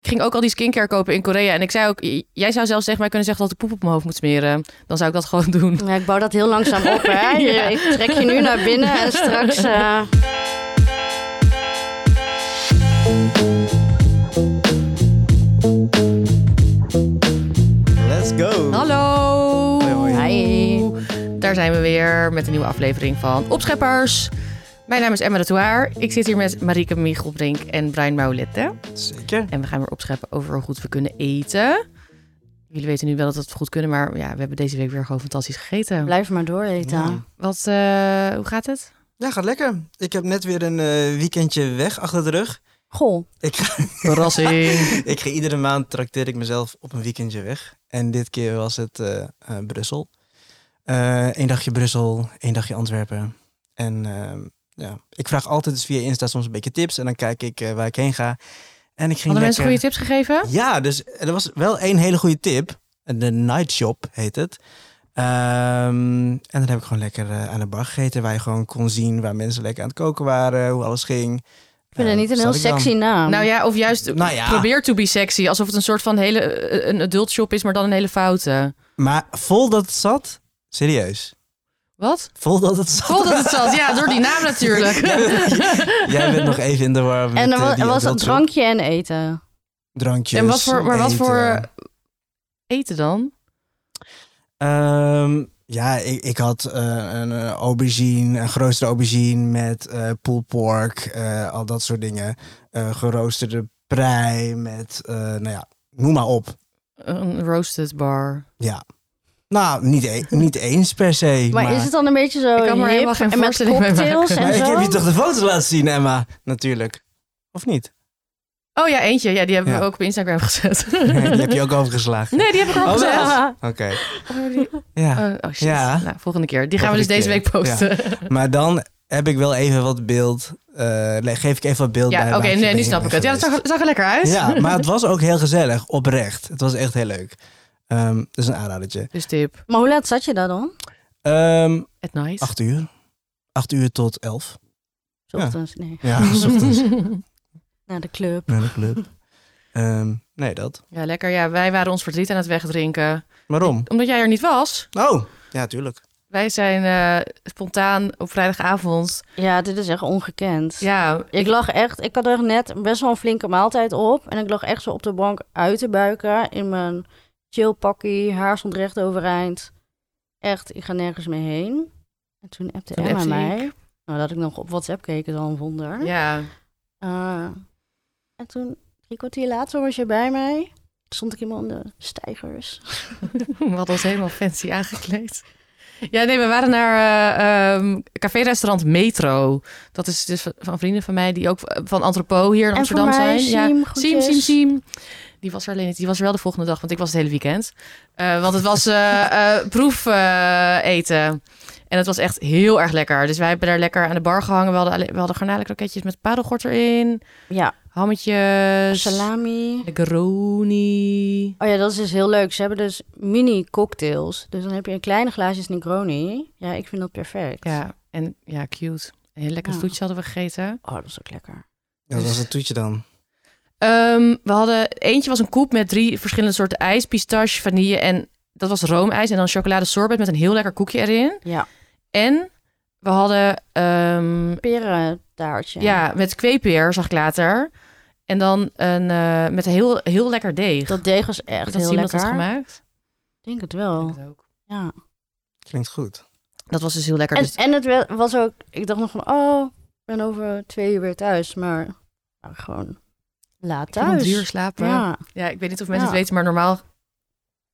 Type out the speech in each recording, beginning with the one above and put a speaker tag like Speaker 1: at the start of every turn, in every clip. Speaker 1: Ik ging ook al die skincare kopen in Korea. En ik zei ook, j- jij zou zelfs tegen mij kunnen zeggen dat ik de poep op mijn hoofd moet smeren. Dan zou ik dat gewoon doen.
Speaker 2: Ja, ik bouw dat heel langzaam op, hè. Je-
Speaker 1: Ja.
Speaker 2: Ik trek je nu naar binnen en straks... eh,
Speaker 3: Let's go.
Speaker 1: Hallo!
Speaker 3: Hoi, hoi.
Speaker 2: Hi.
Speaker 1: Daar zijn we weer met een nieuwe aflevering van Opscheppers. Mijn naam is Emma de Toir. Ik zit hier met Marieke Michelbrink en Brian Maulette.
Speaker 3: Zeker.
Speaker 1: En we gaan weer opscheppen over hoe goed we kunnen eten. Jullie weten nu wel dat we het goed kunnen, maar ja, we hebben deze week weer gewoon fantastisch gegeten.
Speaker 2: Blijf maar door eten.
Speaker 3: Ja.
Speaker 1: Wat, eh, hoe gaat het?
Speaker 3: Ja, gaat lekker. Ik heb net weer een eh, weekendje weg achter de rug.
Speaker 2: Goh.
Speaker 3: Ik ga,
Speaker 1: Verrassing.
Speaker 3: ik ga iedere maand trakteer ik mezelf op een weekendje weg. En dit keer was het eh, eh, Brussel. Eén dagje Brussel, één dagje Antwerpen. En ehm, ja, ik vraag altijd dus via Insta soms een beetje tips. En dan kijk ik eh, waar ik heen ga. En ik ging
Speaker 1: Hadden mensen
Speaker 3: lekker...
Speaker 1: goede tips gegeven?
Speaker 3: Ja, dus er was wel één hele goede tip. De Night Shop heet het. Ehm, en dan heb ik gewoon lekker eh, aan de bar gegeten. Waar je gewoon kon zien waar mensen lekker aan het koken waren. Hoe alles ging. Eh,
Speaker 2: Ik vind het niet een heel sexy naam.
Speaker 1: Nou ja, of juist
Speaker 3: Nou ja.
Speaker 1: probeer to be sexy. Alsof het een soort van hele, eh, een adult shop is, maar dan een hele foute.
Speaker 3: Maar vol dat het zat. Serieus.
Speaker 1: Wat?
Speaker 3: Vol dat het zat.
Speaker 1: Vol dat het zat. Ja, door die naam natuurlijk.
Speaker 3: Jij bent nog even in de war met
Speaker 2: en er
Speaker 3: eh,
Speaker 2: wa-
Speaker 3: die
Speaker 2: er was dat
Speaker 3: adult shop.
Speaker 2: drankje en eten.
Speaker 3: drankjes.
Speaker 1: En wat voor, maar wat
Speaker 3: eten.
Speaker 1: voor eten dan?
Speaker 3: Ehm, ja, ik, ik had eh, een eh, aubergine, een geroosterde aubergine met eh pulled pork, eh, al dat soort dingen. Eh, geroosterde prei met, eh, nou ja, noem maar op.
Speaker 1: Een roasted bar.
Speaker 3: Ja. Nou, niet, e- niet eens per se.
Speaker 2: Maar,
Speaker 3: Maar,
Speaker 2: is het dan een beetje zo
Speaker 1: Ik kan me er
Speaker 2: hip
Speaker 1: helemaal geen
Speaker 2: en met
Speaker 1: voorstelling bij
Speaker 2: cocktails
Speaker 1: maken.
Speaker 2: en
Speaker 3: Maar ik
Speaker 2: zo?
Speaker 3: heb je toch de foto's laten zien, Emma? Natuurlijk. Of niet?
Speaker 1: Oh ja, eentje. Ja, die hebben we
Speaker 3: Ja.
Speaker 1: ook op Instagram gezet.
Speaker 3: Nee, die heb je ook overgeslagen.
Speaker 1: Nee, die heb ik erop
Speaker 3: Oh,
Speaker 1: gezet.
Speaker 3: wel.
Speaker 2: Ja.
Speaker 3: Oké.
Speaker 1: Oh, die-
Speaker 3: Ja.
Speaker 1: oh, oh, shit.
Speaker 3: Ja.
Speaker 1: Nou, volgende keer. Die gaan we dus deze
Speaker 3: Volgende
Speaker 1: week
Speaker 3: keer.
Speaker 1: posten.
Speaker 3: Maar dan heb ik wel even wat beeld. eh, le- geef ik even wat beeld
Speaker 1: Ja,
Speaker 3: bij.
Speaker 1: oké.
Speaker 3: waar ik
Speaker 1: nee,
Speaker 3: ben
Speaker 1: nu snap ik het. Ja, dat
Speaker 3: geweest.
Speaker 1: zag, zag er lekker uit.
Speaker 3: Ja, maar het was ook heel gezellig, oprecht. Het was echt heel leuk. Ehm dus een aanradertje.
Speaker 1: Dus tip.
Speaker 2: Maar hoe laat zat je daar dan?
Speaker 3: Ehm
Speaker 1: At night.
Speaker 3: acht uur. Acht uur tot elf.
Speaker 2: S Ochtends, nee.
Speaker 3: Ja, 's ochtends
Speaker 2: Naar de club.
Speaker 3: naar de club. Ehm, nee, dat.
Speaker 1: Ja, lekker. Ja, wij waren ons verdriet aan het wegdrinken.
Speaker 3: Waarom?
Speaker 1: Omdat jij er niet was.
Speaker 3: Oh, ja, tuurlijk.
Speaker 1: Wij zijn eh, spontaan op vrijdagavond.
Speaker 2: Ja, dit is echt ongekend.
Speaker 1: Ja,
Speaker 2: Ik lag echt, ik had er net best wel een flinke maaltijd op. En ik lag echt zo op de bank uit te buiken in mijn chill pakkie. Haar stond recht overeind. Echt, ik ga nergens meer heen. En toen appte
Speaker 1: Toen
Speaker 2: Emma
Speaker 1: appte
Speaker 2: mij.
Speaker 1: ik.
Speaker 2: Nou, dat ik nog op WhatsApp keek, is al een wonder.
Speaker 1: ja.
Speaker 2: Eh, en toen, drie kwartier later, was je bij mij. Toen Stond ik helemaal in de stijgers.
Speaker 1: Hm, We hadden ons helemaal fancy aangekleed. Ja, nee, we waren naar eh, ehm, café-restaurant Metro. Dat is dus van- van vrienden van mij die ook van Antropo hier in
Speaker 2: en voor
Speaker 1: Amsterdam
Speaker 2: mij,
Speaker 1: zijn. ja.
Speaker 2: Siem,
Speaker 1: Siem,
Speaker 2: groetjes.
Speaker 1: Siem, Siem. Die was er alleen niet. Die was er wel de volgende dag, want ik was het hele weekend. Eh, want het was eh, eh, proef eh, eten. En het was echt heel erg lekker. Dus wij hebben daar lekker aan de bar gehangen. We hadden, alle- we hadden garnalenkroketjes met padelgort erin.
Speaker 2: Ja,
Speaker 1: Hammetjes.
Speaker 2: salami.
Speaker 1: Negroni.
Speaker 2: Oh ja, dat is dus heel leuk. Ze hebben dus mini cocktails. Dus dan heb je een kleine glaasjes Negroni. Ja, ik vind dat perfect.
Speaker 1: Ja, en ja, cute. Een heel lekker
Speaker 2: Ja.
Speaker 1: toetje hadden we gegeten.
Speaker 2: Oh, dat is ook lekker.
Speaker 3: Ja, dat was het toetje dan.
Speaker 1: Ehm, we hadden, eentje was een koep met drie verschillende soorten ijs. Pistache, vanille en dat was roomijs. En dan chocolade sorbet met een heel lekker koekje erin.
Speaker 2: Ja.
Speaker 1: En we hadden, ehm,
Speaker 2: Perentaartje.
Speaker 1: ja, met kweepeer zag ik later. En dan een, eh, met een heel, heel lekker deeg.
Speaker 2: Dat deeg was echt
Speaker 1: Heeft
Speaker 2: heel
Speaker 1: Simon
Speaker 2: lekker. Oh.
Speaker 1: dat gemaakt.
Speaker 2: Ik denk het wel.
Speaker 1: Dat ook.
Speaker 2: Ja.
Speaker 3: Klinkt goed.
Speaker 1: Dat was dus heel lekker.
Speaker 2: En,
Speaker 1: Dus-
Speaker 2: en het wel- was ook... Ik dacht nog van, oh, ik ben over twee uur weer thuis. Maar nou, gewoon laat
Speaker 1: ik kan
Speaker 2: thuis.
Speaker 1: duur slapen. Ja.
Speaker 2: Ja.
Speaker 1: ik weet niet of mensen
Speaker 2: Ja.
Speaker 1: het weten, maar normaal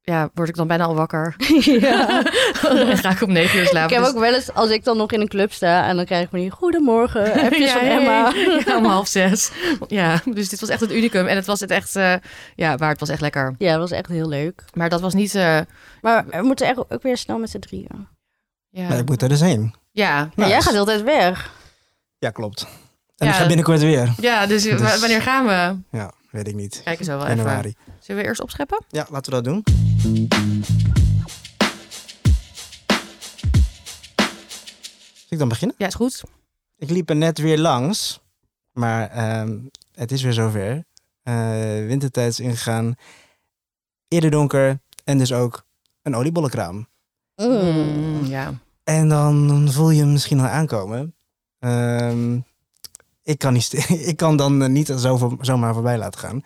Speaker 1: ja, word ik dan bijna al wakker.
Speaker 2: ja.
Speaker 1: Dan ga ik om negen uur slapen.
Speaker 2: Ik heb
Speaker 1: dus-
Speaker 2: ook wel eens, als ik dan nog in een club sta... en dan krijg ik me niet goedemorgen, eh, appjes
Speaker 1: Ja,
Speaker 2: van
Speaker 1: hey.
Speaker 2: Emma.
Speaker 1: Ja, om half zes. Ja, dus dit was echt het unicum. En het was het echt, eh, ja, waar het was echt lekker.
Speaker 2: Ja, dat was echt heel leuk.
Speaker 1: Maar dat was niet, eh,
Speaker 2: Maar we moeten echt ook weer snel met z'n drieën.
Speaker 3: Maar
Speaker 1: ja.
Speaker 3: ik moet er dus heen.
Speaker 1: Ja,
Speaker 2: Ja,
Speaker 3: Nice.
Speaker 2: jij gaat de hele tijd weg.
Speaker 3: Ja, klopt. En
Speaker 1: Ja.
Speaker 3: ik ga binnenkort weer.
Speaker 1: ja dus,
Speaker 3: Dus-
Speaker 1: wa- wanneer gaan we?
Speaker 3: Ja, weet ik niet.
Speaker 1: Kijken zo wel even.
Speaker 3: Januari.
Speaker 1: Zullen we eerst opscheppen?
Speaker 3: Ja, laten we dat doen. Zal ik dan beginnen?
Speaker 1: Ja, is goed.
Speaker 3: Ik liep er net weer langs, maar ehm, het is weer zover. eh wintertijd is ingegaan. Eerder donker en dus ook een oliebollenkraam.
Speaker 1: Mm, ja.
Speaker 3: En dan voel je hem misschien al aankomen. Ehm, ik, kan niet st- ik kan dan eh, niet zo voor- zomaar voorbij laten gaan.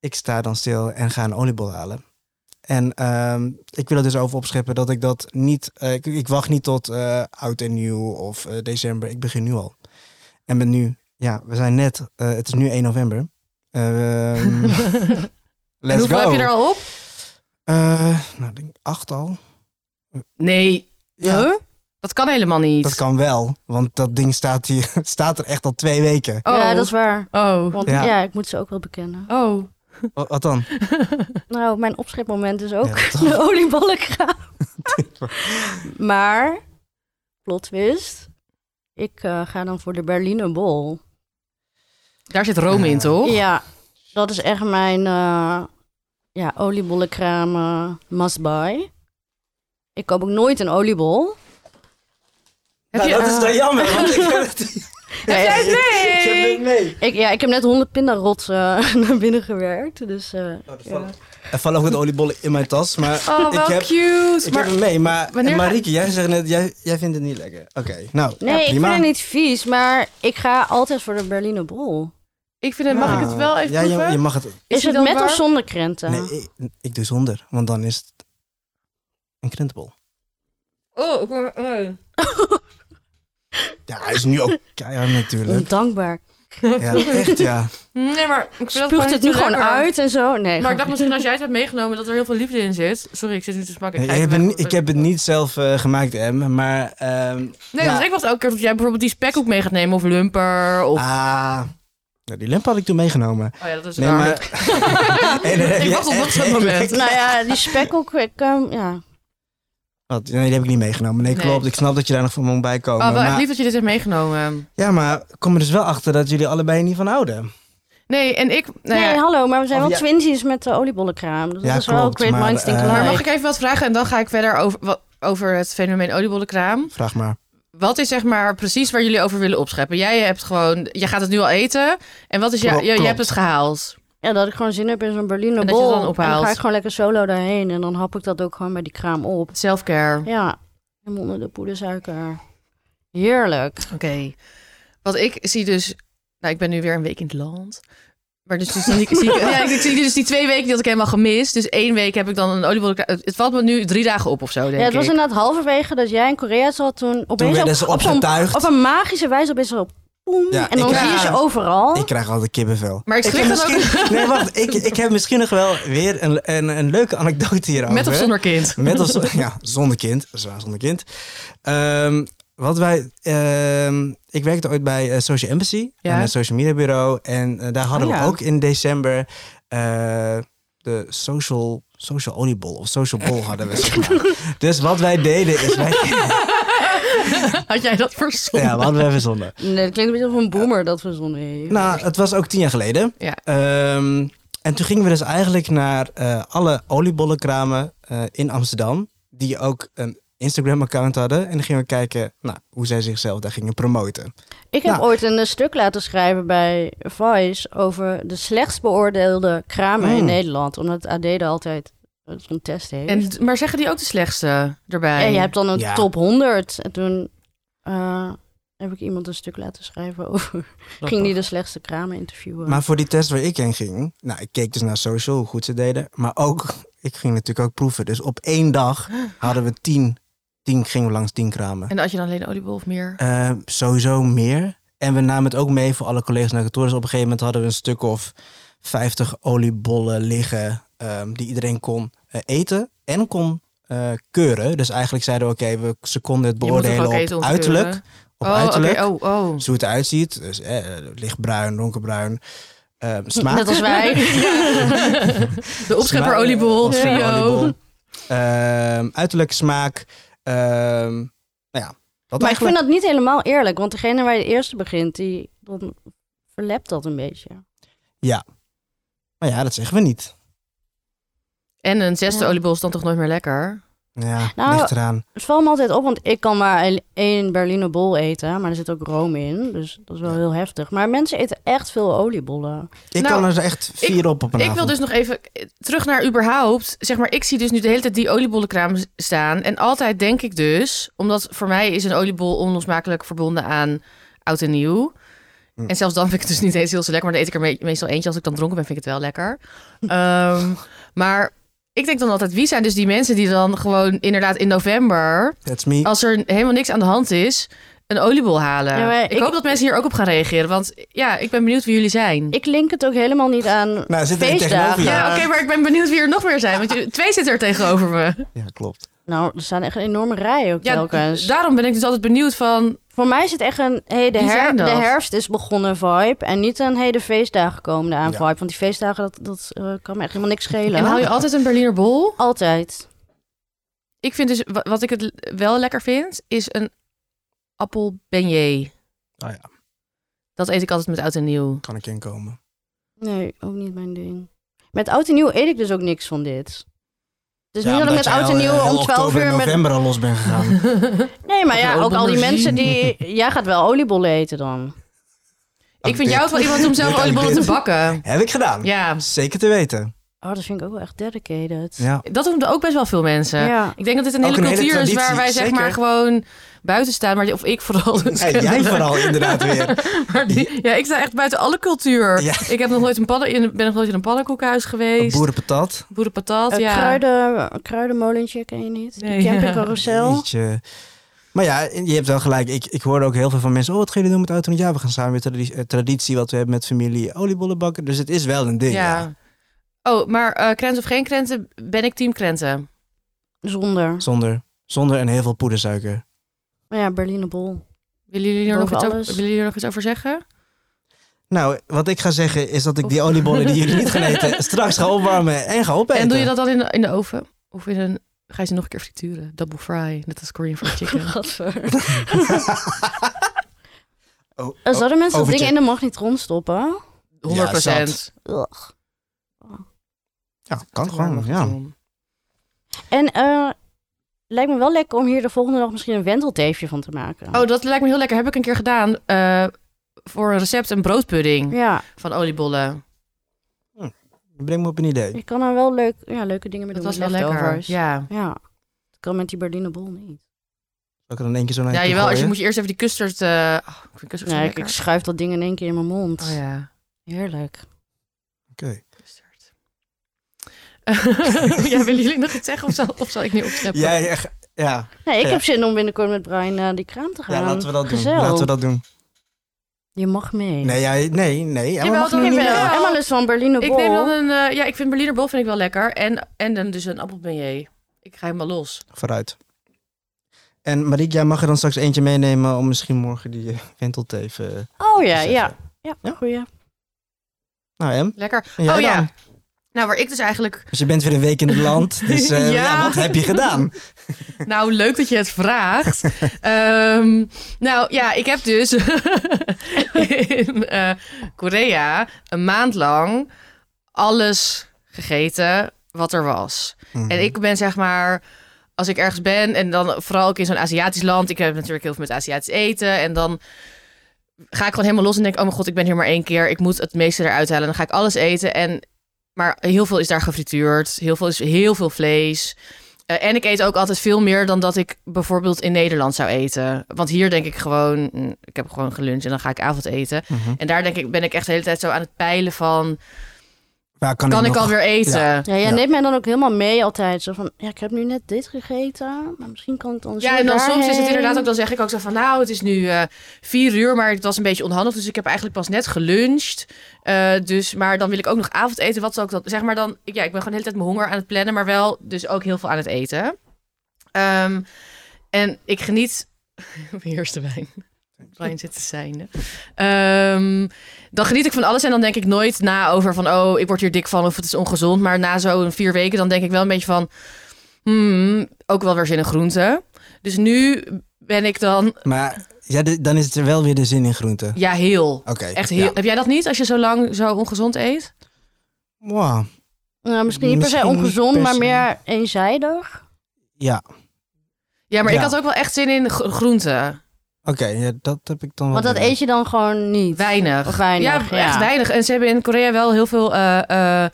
Speaker 3: Ik sta dan stil en ga een oliebol halen. En ehm, ik wil er dus over opscheppen dat ik dat niet... eh, ik, ik wacht niet tot eh, oud en nieuw of eh, december. Ik begin nu al. En ben nu... Ja, we zijn net... eh, het is nu 1 november. Ehm,
Speaker 1: En
Speaker 3: let's
Speaker 1: hoeveel
Speaker 3: go.
Speaker 1: heb je er al op?
Speaker 3: Eh, nou, ik denk acht al.
Speaker 1: Nee. Huh? Dat kan helemaal niet.
Speaker 3: Dat kan wel, want dat ding staat, hier, staat er echt al twee weken.
Speaker 1: Oh.
Speaker 2: Ja, dat is waar.
Speaker 1: Oh.
Speaker 2: Want
Speaker 3: Ja.
Speaker 2: ja. ik moet ze ook wel bekennen.
Speaker 1: Oh.
Speaker 3: Wa- Wat dan?
Speaker 2: Nou, mijn opschepmoment is ook
Speaker 3: Ja,
Speaker 2: de olieballenkraam. maar, plot twist, ik eh, ga dan voor de Berliner Bol.
Speaker 1: Daar zit Rome in, toch?
Speaker 2: Ja, dat is echt mijn eh ja, oliebollenkraam eh, must buy. Ik koop ook nooit een oliebol.
Speaker 1: Heb je, eh,
Speaker 3: jammer, want ik heb het,
Speaker 2: Nee,
Speaker 1: jij het mee? ik heb het
Speaker 3: mee.
Speaker 2: Ik, ja, ik heb net 100 pindarot eh, naar binnen gewerkt. Dus eh,
Speaker 3: Oh,
Speaker 2: ja.
Speaker 3: Er vallen ook wat oliebollen in mijn tas, maar
Speaker 1: Oh, wel
Speaker 3: ik, heb,
Speaker 1: cute.
Speaker 3: ik
Speaker 1: Maar
Speaker 3: heb hem mee. Maar
Speaker 1: wanneer
Speaker 3: en
Speaker 1: ga-
Speaker 3: Marieke, jij zegt net, jij, jij vindt het niet lekker. Oké, nou,
Speaker 2: Nee, ik
Speaker 3: prima.
Speaker 2: vind het niet vies, maar ik ga altijd voor de Berliner Bol.
Speaker 1: ik vind het, mag ik het wel even
Speaker 3: ja,
Speaker 1: proeven?
Speaker 3: je, je mag het.
Speaker 2: Is,
Speaker 1: die
Speaker 2: het
Speaker 1: dan
Speaker 2: met
Speaker 1: warm?
Speaker 2: of zonder krenten?
Speaker 3: Nee, ik, ik doe zonder, want dan is het een krentenbol.
Speaker 1: Oh, ik word- oh.
Speaker 3: Ja, hij is nu ook keihard natuurlijk.
Speaker 2: Ondankbaar.
Speaker 3: Ja, echt ja.
Speaker 1: Nee, maar ik vind dat
Speaker 2: Spuugt het nu
Speaker 1: zo
Speaker 2: gewoon
Speaker 1: lekker.
Speaker 2: uit en zo? Nee.
Speaker 1: Maar ik dacht misschien als jij het hebt meegenomen dat er heel veel liefde in zit. Sorry, ik zit nu te smakken.
Speaker 3: Ik
Speaker 1: ga
Speaker 3: heb,
Speaker 1: even
Speaker 3: het,
Speaker 1: weg.
Speaker 3: niet- ik heb het niet zelf eh, gemaakt, Em, maar... ehm,
Speaker 1: Nee,
Speaker 3: ja.
Speaker 1: dus ik was elke keer dat jij bijvoorbeeld die spek ook mee gaat nemen. Of lumper. Of...
Speaker 3: Ah, nou, die lamp had ik toen meegenomen.
Speaker 1: Oh ja, dat is
Speaker 3: Ah, Nee,
Speaker 1: raar.
Speaker 3: maar... Nee, nee, nee,
Speaker 1: Ik wacht op dat soort moment.
Speaker 2: Nou ja, die spekkel, ik, ehm, ja.
Speaker 1: Nou
Speaker 3: Wat? Nee, die heb ik niet meegenomen. Nee,
Speaker 1: Nee.
Speaker 3: klopt. Ik snap dat je daar nog van moet bij komen.
Speaker 1: Oh, wel echt
Speaker 3: maar-
Speaker 1: lief dat je dit hebt meegenomen.
Speaker 3: Ja, maar ik kom er dus wel achter dat jullie allebei niet van houden.
Speaker 1: Nee, en ik... Nou
Speaker 2: Nee,
Speaker 1: ja.
Speaker 2: hallo, maar we zijn
Speaker 3: Of
Speaker 2: wel
Speaker 3: ja-
Speaker 2: twinsies met de oliebollenkraam. Dus
Speaker 3: Ja,
Speaker 2: dat is wel
Speaker 3: klopt,
Speaker 2: great
Speaker 3: maar,
Speaker 2: minds think
Speaker 3: eh,
Speaker 2: alike.
Speaker 1: Maar mag ik even wat vragen en dan ga ik verder over, wat, over het fenomeen oliebollenkraam.
Speaker 3: Vraag maar.
Speaker 1: Wat is zeg maar precies waar jullie over willen opscheppen? Jij hebt gewoon, je gaat het nu al eten. En wat is, ja,
Speaker 3: Klopt,
Speaker 1: je, je
Speaker 3: klopt.
Speaker 1: hebt het gehaald.
Speaker 2: Ja, dat ik gewoon zin heb in zo'n Berliner
Speaker 1: En dat je
Speaker 2: Bol.
Speaker 1: het dan ophaalt.
Speaker 2: ga ik gewoon lekker solo daarheen en dan hap ik dat ook gewoon bij die kraam op.
Speaker 1: Selfcare.
Speaker 2: Ja, en onder de poedersuiker. Heerlijk.
Speaker 1: Oké. Wat ik zie dus... Nou, ik ben nu weer een week in het land. Maar dus, dus dan zie ik, zie ik- ja, ik, ik zie dus die twee weken die had ik helemaal gemist. Dus één week heb ik dan een oliebollenkraam. Het, het valt me nu drie dagen op of zo, denk
Speaker 2: Ja, het was
Speaker 1: ik.
Speaker 2: inderdaad halverwege dat jij in Korea zat toen
Speaker 3: Toen
Speaker 2: opeens
Speaker 3: werden
Speaker 2: op,
Speaker 3: ze
Speaker 2: op, zo'n-
Speaker 3: opgetuigd.
Speaker 1: Oh,
Speaker 2: op een magische wijze opeens zo poem.
Speaker 3: Ja,
Speaker 2: en dan
Speaker 3: ik-
Speaker 2: zie je
Speaker 1: Ja.
Speaker 2: ze overal.
Speaker 3: Ik krijg altijd kippenvel.
Speaker 1: Maar ik schrik
Speaker 3: heb
Speaker 1: dan ook-
Speaker 3: misschien- Nee, wacht. Ik, ik heb misschien nog wel weer een, een, een leuke anekdote hierover.
Speaker 1: Met of zonder kind.
Speaker 3: Met of zonder... Ja, zonder kind. Zwaar zonder kind. Ehm, wat wij... ehm, ik werkte ooit bij eh, Social Embassy.
Speaker 1: Ja.
Speaker 3: En een social media bureau. En eh, daar hadden
Speaker 1: Oh, ja.
Speaker 3: we ook in december... eh, de social, social oliebol of social bol hadden we. zeg maar. dus wat wij deden is... Wij,
Speaker 1: Had jij dat verzonnen?
Speaker 3: ja, wat we hebben zonde.
Speaker 2: Nee, dat klinkt een beetje als een boomer dat we zo'n heeft.
Speaker 3: Nou, het was ook tien jaar geleden.
Speaker 1: Ja.
Speaker 3: Ehm, en toen gingen we dus eigenlijk naar eh, alle oliebollenkramen eh, in Amsterdam. Die ook een Instagram-account hadden. En dan gingen we kijken nou, hoe zij zichzelf daar gingen promoten.
Speaker 2: Ik heb
Speaker 3: Nou.
Speaker 2: ooit een eh, stuk laten schrijven bij Vice over de slechtst beoordeelde kramen in
Speaker 3: Mm.
Speaker 2: Nederland. Omdat het AD er altijd eh, zo'n test heeft. Hmm. En,
Speaker 1: En, maar zeggen die ook de slechtste erbij?
Speaker 2: je hebt dan een
Speaker 3: Ja.
Speaker 2: top 100. En toen eh, heb ik iemand een stuk laten schrijven over. Ging die de slechtste kramen interviewen.
Speaker 3: Maar voor die test waar ik heen ging, nou, ik keek dus naar social, hoe goed ze deden. Maar ook, ik ging natuurlijk ook proeven. Dus op één dag hadden we tien, tien gingen we langs tien
Speaker 2: dus-
Speaker 3: kramen.
Speaker 1: En had je dan alleen een oliebol of meer?
Speaker 3: Eh, sowieso meer. En we namen het ook mee voor alle collega's naar kantoor. Dus op een gegeven moment hadden we een stuk of 50 oliebollen liggen. ehm, die iedereen kon eh, eten en kon eh, keuren. Dus eigenlijk zeiden we: oké, we, ze konden het
Speaker 1: Je moet toch
Speaker 3: beoordelen
Speaker 1: ook eten
Speaker 3: op
Speaker 1: om te
Speaker 3: uiterlijk.
Speaker 1: keuren?
Speaker 3: Op
Speaker 1: oh, oké.
Speaker 3: uiterlijk.
Speaker 1: Oh, oh.
Speaker 3: Dus hoe het eruit ziet. Dus eh, lichtbruin, donkerbruin. ehm, smaak.
Speaker 2: Net als wij.
Speaker 1: De opschepper
Speaker 3: Smaak-
Speaker 1: oliebol,
Speaker 3: opschepper
Speaker 1: trio.
Speaker 3: oliebol. Ehm, uiterlijk, smaak. ehm, nou ja, dat
Speaker 2: Maar ik
Speaker 3: eigenlijk.
Speaker 2: vind dat niet helemaal eerlijk, want degene waar je de eerste begint, die dan verlept dat een beetje.
Speaker 3: Maar ja, dat zeggen we niet.
Speaker 1: En een zesde
Speaker 2: Ja.
Speaker 1: oliebol is dan toch nooit meer lekker?
Speaker 3: Ja,
Speaker 2: Nou,
Speaker 3: ligt eraan.
Speaker 2: Het valt me altijd op, want ik kan maar el- één Berliner bol eten. Maar er zit ook room in, dus dat is wel heel heftig. Maar mensen eten echt veel oliebollen.
Speaker 3: Ik
Speaker 1: nou,
Speaker 3: kan er echt vier op op een
Speaker 1: Ik wil
Speaker 3: avond.
Speaker 1: dus nog even eh, terug naar überhaupt. Zeg maar, ik zie dus nu de hele tijd die oliebollenkraam s- staan. En altijd denk ik dus, omdat voor mij is een oliebol onlosmakelijk verbonden aan oud en nieuw.
Speaker 3: Hm.
Speaker 1: En zelfs dan vind ik het dus niet eens heel zo lekker. Maar dan eet ik er me- meestal eentje. Als ik dan dronken ben, vind ik het wel lekker. Ehm, maar ik denk dan altijd, wie zijn dus die mensen die dan gewoon inderdaad in november...
Speaker 3: That's me.
Speaker 1: als er helemaal niks aan de hand is, een oliebol halen?
Speaker 2: Ja, maar
Speaker 1: ik,
Speaker 2: ik-
Speaker 1: hoop dat mensen hier ook op gaan reageren. Want ja, ik ben benieuwd wie jullie zijn.
Speaker 2: Ik link het ook helemaal niet aan...
Speaker 3: Nou, zit er
Speaker 2: feestdagen.
Speaker 3: tegenover je.
Speaker 1: Ja, oké, maar ik ben benieuwd wie er nog meer zijn. Want je- twee zitten er tegenover me.
Speaker 3: Ja, klopt.
Speaker 2: Nou, er staan echt een enorme rijen ook
Speaker 1: Ja,
Speaker 2: telkens.
Speaker 1: daarom ben ik dus altijd benieuwd van...
Speaker 2: Voor mij is het echt een... Hey, de,
Speaker 1: Wie
Speaker 2: her-
Speaker 1: zijn
Speaker 2: de
Speaker 1: dat?
Speaker 2: herfst is begonnen vibe. En niet een... Hey, de feestdagen komen eraan
Speaker 3: Ja.
Speaker 2: vibe. Want die feestdagen, dat, dat eh, kan me echt helemaal niks schelen.
Speaker 1: En hou je altijd een Berliner bol?
Speaker 2: Altijd.
Speaker 1: Ik vind dus, wa- wat ik het l- wel lekker vind, is een appel beignet.
Speaker 3: Oh ja.
Speaker 1: Dat eet ik altijd met oud en nieuw.
Speaker 3: Kan ik inkomen.
Speaker 2: Nee, ook niet mijn ding. Met oud en nieuw eet ik dus ook niks van dit. Dus
Speaker 3: Ja,
Speaker 2: niet dat ik
Speaker 3: omdat
Speaker 2: met
Speaker 3: jij
Speaker 2: oud
Speaker 3: al,
Speaker 2: en
Speaker 3: eh,
Speaker 2: nieuw
Speaker 3: heel
Speaker 2: om 12
Speaker 3: oktober en
Speaker 2: uur met...
Speaker 3: november al los ben gegaan.
Speaker 2: Nee, maar
Speaker 1: Of
Speaker 2: ja,
Speaker 1: een
Speaker 2: ook al die
Speaker 1: oliebollen
Speaker 2: mensen die... Jij gaat wel oliebollen eten dan.
Speaker 1: ik vind
Speaker 3: dit.
Speaker 1: jou ook wel iemand om zelf
Speaker 3: Dit ook
Speaker 1: oliebollen te
Speaker 3: dit.
Speaker 1: bakken.
Speaker 3: Heb ik gedaan.
Speaker 1: Ja,
Speaker 3: Zeker te weten.
Speaker 2: Oh, dat vind ik ook wel echt dedicated.
Speaker 3: Ja.
Speaker 1: dat doen ook best wel veel mensen.
Speaker 2: Ja.
Speaker 1: Ik denk dat dit een
Speaker 3: Ook
Speaker 1: hele
Speaker 3: een hele
Speaker 1: cultuur is waar
Speaker 3: traditie,
Speaker 1: wij zeg
Speaker 3: zeker.
Speaker 1: maar gewoon buiten staan. Maar, die- of ik vooral. dus.
Speaker 3: Ja, jij vooral inderdaad weer.
Speaker 1: Maar die- ja, ik sta echt buiten alle cultuur.
Speaker 3: Ja.
Speaker 1: Ik heb nog nooit een padden, in- ben nog nooit in een pannenkoekhuis geweest.
Speaker 3: Boerenpatat.
Speaker 1: Boerenpatat,
Speaker 2: Eh,
Speaker 1: ja.
Speaker 2: kruiden, een kruidenmolentje ken je niet.
Speaker 1: Nee.
Speaker 2: Die campingcarousel.
Speaker 3: Jeetje. Maar ja, je hebt wel gelijk. Ik, ik hoorde ook heel veel van mensen. Oh, wat gaan jullie doen met oud en nieuw? Ja, we gaan samen weer tradi- eh, traditie wat we hebben met familie oliebollen bakken. Dus het is wel een ding. Ja.
Speaker 1: ja. Oh, maar eh krenten of geen krenten, ben ik team krenten.
Speaker 2: Zonder.
Speaker 3: Zonder, zonder en heel veel poedersuiker.
Speaker 2: Maar ja, Berliner Bol.
Speaker 1: Willen jullie er, nog
Speaker 2: Boven
Speaker 1: iets over,
Speaker 2: alles.
Speaker 1: willen jullie er nog iets over zeggen?
Speaker 3: Nou, wat ik ga zeggen is dat ik die oliebollen die jullie niet gaan eten... straks ga opwarmen en ga opeten.
Speaker 1: En doe je dat dan in de, in de oven? Of in een, ga je ze nog een keer frituren? Double fry, net als Korean fried chicken.
Speaker 2: Gadver.
Speaker 3: Oh,
Speaker 2: Eh, Zouden mensen dat
Speaker 3: overtje.
Speaker 2: ding in de magnetron stoppen?
Speaker 1: 100
Speaker 3: Ja,
Speaker 1: procent.
Speaker 3: zat. ja, kan gewoon, ja.
Speaker 2: En eh lijkt me wel lekker om hier de volgende dag misschien een wentelteefje van te maken.
Speaker 1: Oh, dat lijkt me heel lekker. Heb ik een keer gedaan eh, voor een recept een broodpudding
Speaker 2: Ja,
Speaker 1: van oliebollen.
Speaker 3: Je brengt me op een idee.
Speaker 2: je kan er wel leuk, ja, leuke dingen mee
Speaker 1: Dat
Speaker 2: doen.
Speaker 1: was wel
Speaker 2: met
Speaker 1: lekker.
Speaker 2: leftovers.
Speaker 1: Ja.
Speaker 2: ja. Dat kan met die Berliner Bol niet.
Speaker 3: Zal ik er dan één keer zo naar je
Speaker 1: Ja,
Speaker 3: toe
Speaker 1: jawel. Als je
Speaker 3: gooien?
Speaker 1: moet je eerst even die custard... eh, oh, ik vind custard zo
Speaker 2: Nee, ik, ik
Speaker 1: lekker.
Speaker 2: schuif dat ding in één keer in mijn mond.
Speaker 1: Oh ja,
Speaker 2: Heerlijk.
Speaker 3: Oké.
Speaker 1: custard. ja, willen jullie nog iets zeggen of zal, of zal ik nu opsteppen?
Speaker 3: Ja, ja, ge- ja.
Speaker 2: Nee, ik
Speaker 3: Ja.
Speaker 2: heb zin om binnenkort met Brian naar die kraam te gaan.
Speaker 3: ja, laten we dat doen.
Speaker 2: Gezellig.
Speaker 3: Laten we dat doen.
Speaker 2: Je mag mee.
Speaker 3: Nee, jij nee, nee. Emma
Speaker 1: Jawel,
Speaker 3: mag
Speaker 1: dat
Speaker 3: nu
Speaker 1: ik
Speaker 3: niet
Speaker 1: wel.
Speaker 3: meer.
Speaker 1: Ja.
Speaker 2: Emma is van Berliner
Speaker 1: Ik
Speaker 2: Bol.
Speaker 1: neem dan een... eh, ja, ik vind Berliner Bol vind ik wel lekker. En, en dan dus een appelbeignet. Ik ga helemaal los.
Speaker 3: Vooruit. En Mariek, jij mag er dan straks eentje meenemen om misschien morgen die eh, wentelt even... te
Speaker 2: Oh ja, ja.
Speaker 3: zetten.
Speaker 2: Ja,
Speaker 3: Ja.
Speaker 2: goeie.
Speaker 3: Nou, Em.
Speaker 1: Lekker.
Speaker 3: en jij
Speaker 1: oh ja.
Speaker 3: dan?
Speaker 1: Nou, waar ik dus eigenlijk...
Speaker 3: Dus je bent weer een week in het land. Dus
Speaker 1: Ja.
Speaker 3: eh, ja. wat heb je gedaan?
Speaker 1: Nou, leuk dat je het vraagt. Ehm, nou ja, ik heb dus in eh, Korea een maand lang alles gegeten wat er was. En
Speaker 3: Mhm.
Speaker 1: ik ben zeg maar, als ik ergens ben en dan vooral ook in zo'n Aziatisch land. Ik heb natuurlijk heel veel met Aziatisch eten. En dan ga ik gewoon helemaal los en denk, oh mijn god, ik ben hier maar één keer. Ik moet het meeste eruit halen. Dan ga ik alles eten. En, maar heel veel is daar gefrituurd. Heel veel is heel veel vlees. Eh, en ik eet ook altijd veel meer dan dat ik bijvoorbeeld in Nederland zou eten. Want hier denk ik gewoon, mm, ik heb gewoon geluncht en dan ga ik avondeten.
Speaker 3: Mhm.
Speaker 1: En daar denk ik, ben ik echt de hele tijd zo aan het peilen van,
Speaker 3: Waar kan,
Speaker 1: kan
Speaker 3: ik
Speaker 1: ik
Speaker 3: nog-
Speaker 1: alweer eten?
Speaker 2: Ja, jij
Speaker 3: Ja.
Speaker 2: neemt mij dan ook helemaal mee altijd. Zo van, ja, ik heb nu net dit gegeten, maar misschien kan het anders
Speaker 1: Ja,
Speaker 2: weer
Speaker 1: en dan soms is het
Speaker 2: daarheen.
Speaker 1: inderdaad ook, dan zeg ik ook zo van, nou, het is nu eh, vier uur, maar het was een beetje onhandig, dus ik heb eigenlijk pas net geluncht. Eh, dus, maar dan wil ik ook nog avondeten, wat zal ik dan, zeg maar dan, ik- ja, ik ben gewoon de hele tijd mijn honger aan het plannen, maar wel dus ook heel veel aan het eten. Ehm, en ik geniet, mijn eerste wijn, Brian zit te zijn. dan geniet ik van alles en dan denk ik nooit na over van, oh, ik word hier dik van of het is ongezond, maar na zo'n vier weken dan denk ik wel een beetje van, hmm, ook wel weer zin in groenten. Dus nu ben ik dan,
Speaker 3: Maar ja, de- dan is het wel weer de zin in groenten.
Speaker 1: ja, heel.
Speaker 3: Oké.
Speaker 1: Echt heel.
Speaker 3: ja.
Speaker 1: Heb jij dat niet als je zo lang zo ongezond eet?
Speaker 3: Wow.
Speaker 2: Ja, misschien niet per se
Speaker 3: Misschien niet
Speaker 2: ongezond,
Speaker 3: per
Speaker 2: maar
Speaker 3: se.
Speaker 2: meer eenzijdig.
Speaker 3: Ja,
Speaker 1: Ja, maar ik
Speaker 3: Ja.
Speaker 1: had ook wel echt zin in gro- groenten.
Speaker 3: oké, ja, dat heb ik dan wel.
Speaker 2: Want dat
Speaker 3: weer.
Speaker 2: eet je dan gewoon niet.
Speaker 1: Weinig.
Speaker 2: Of weinig,
Speaker 1: ja, echt
Speaker 2: ja.
Speaker 1: weinig. En ze hebben in Korea wel heel veel eh eh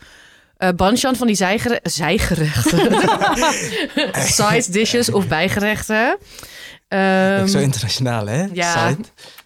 Speaker 1: eh, banchan van die zijgere zijgerechten. Side dishes of bijgerechten. Ehm,
Speaker 3: Ook eh, zo internationaal, hè?
Speaker 1: ja.
Speaker 3: Side,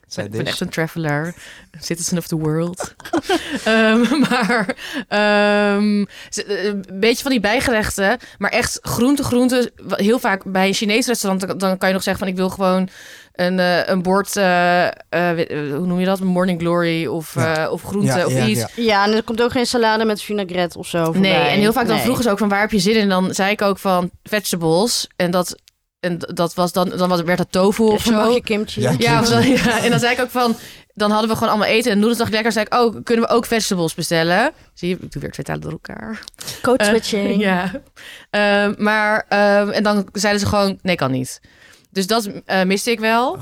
Speaker 3: side
Speaker 1: ik ben
Speaker 3: dish.
Speaker 1: echt een traveler. Citizen of the world. Ehm, maar ehm, ze- eh, een beetje van die bijgerechten. Maar echt groente, groente. wa- Heel vaak bij een Chinees restaurant. Dan, dan kan je nog zeggen van ik wil gewoon een, eh, een bord. eh, eh, weet- eh, hoe noem je dat? Een Morning glory of,
Speaker 3: Ja.
Speaker 1: eh, of groente of iets.
Speaker 2: Ja, en er komt ook geen salade met vinaigrette of zo
Speaker 1: Nee,
Speaker 2: voorbij.
Speaker 1: en heel vaak dan
Speaker 2: Nee.
Speaker 1: vroegen ze ook van waar heb je zin in? En dan zei ik ook van vegetables. En dat, en d- dat was dan, dan was, werd dat tofu of
Speaker 2: Of een
Speaker 1: zo.
Speaker 2: bakje kimchi.
Speaker 3: Ja.
Speaker 1: Ja, of zo, ja, en dan zei ik ook van... Dan hadden we gewoon allemaal eten en noedels. dacht ik lekker, zei ik, oh, kunnen we ook vegetables bestellen? Zie je, ik doe weer twee talen door elkaar.
Speaker 2: Code
Speaker 1: Eh,
Speaker 2: switching.
Speaker 1: Ja. Ehm, maar, ehm, en dan zeiden ze gewoon, nee, kan niet. Dus dat eh, miste ik wel.
Speaker 3: Oh.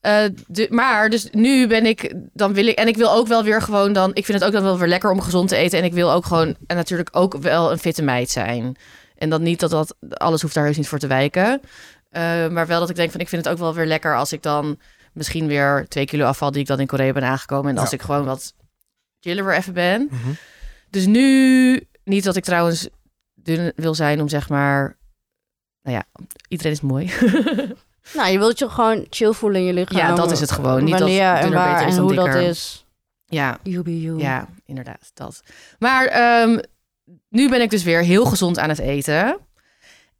Speaker 1: Eh, de- maar dus nu ben ik, dan wil ik, en ik wil ook wel weer gewoon dan, ik vind het ook dan wel weer lekker om gezond te eten. En ik wil ook gewoon, en natuurlijk ook wel een fitte meid zijn. En dat niet dat dat, alles hoeft daar heus niet voor te wijken. Eh, maar wel dat ik denk van, ik vind het ook wel weer lekker als ik dan misschien weer twee kilo afval die ik dan in Korea ben aangekomen. En als
Speaker 3: Ja.
Speaker 1: ik gewoon wat chiller weer even ben.
Speaker 3: Mhm.
Speaker 1: Dus nu, niet dat ik trouwens dun wil zijn om zeg maar, nou ja, iedereen is mooi.
Speaker 2: Nou, je wilt je gewoon chill voelen in je lichaam.
Speaker 1: Ja, dat is het gewoon. Niet dat
Speaker 2: Wanneer en
Speaker 1: dunner
Speaker 2: waar
Speaker 1: beter is
Speaker 2: en
Speaker 1: dan
Speaker 2: hoe dat
Speaker 1: dikker.
Speaker 2: is.
Speaker 1: Ja,
Speaker 2: You be you.
Speaker 1: Ja, inderdaad, dat. Maar ehm, nu ben ik dus weer heel gezond aan het eten.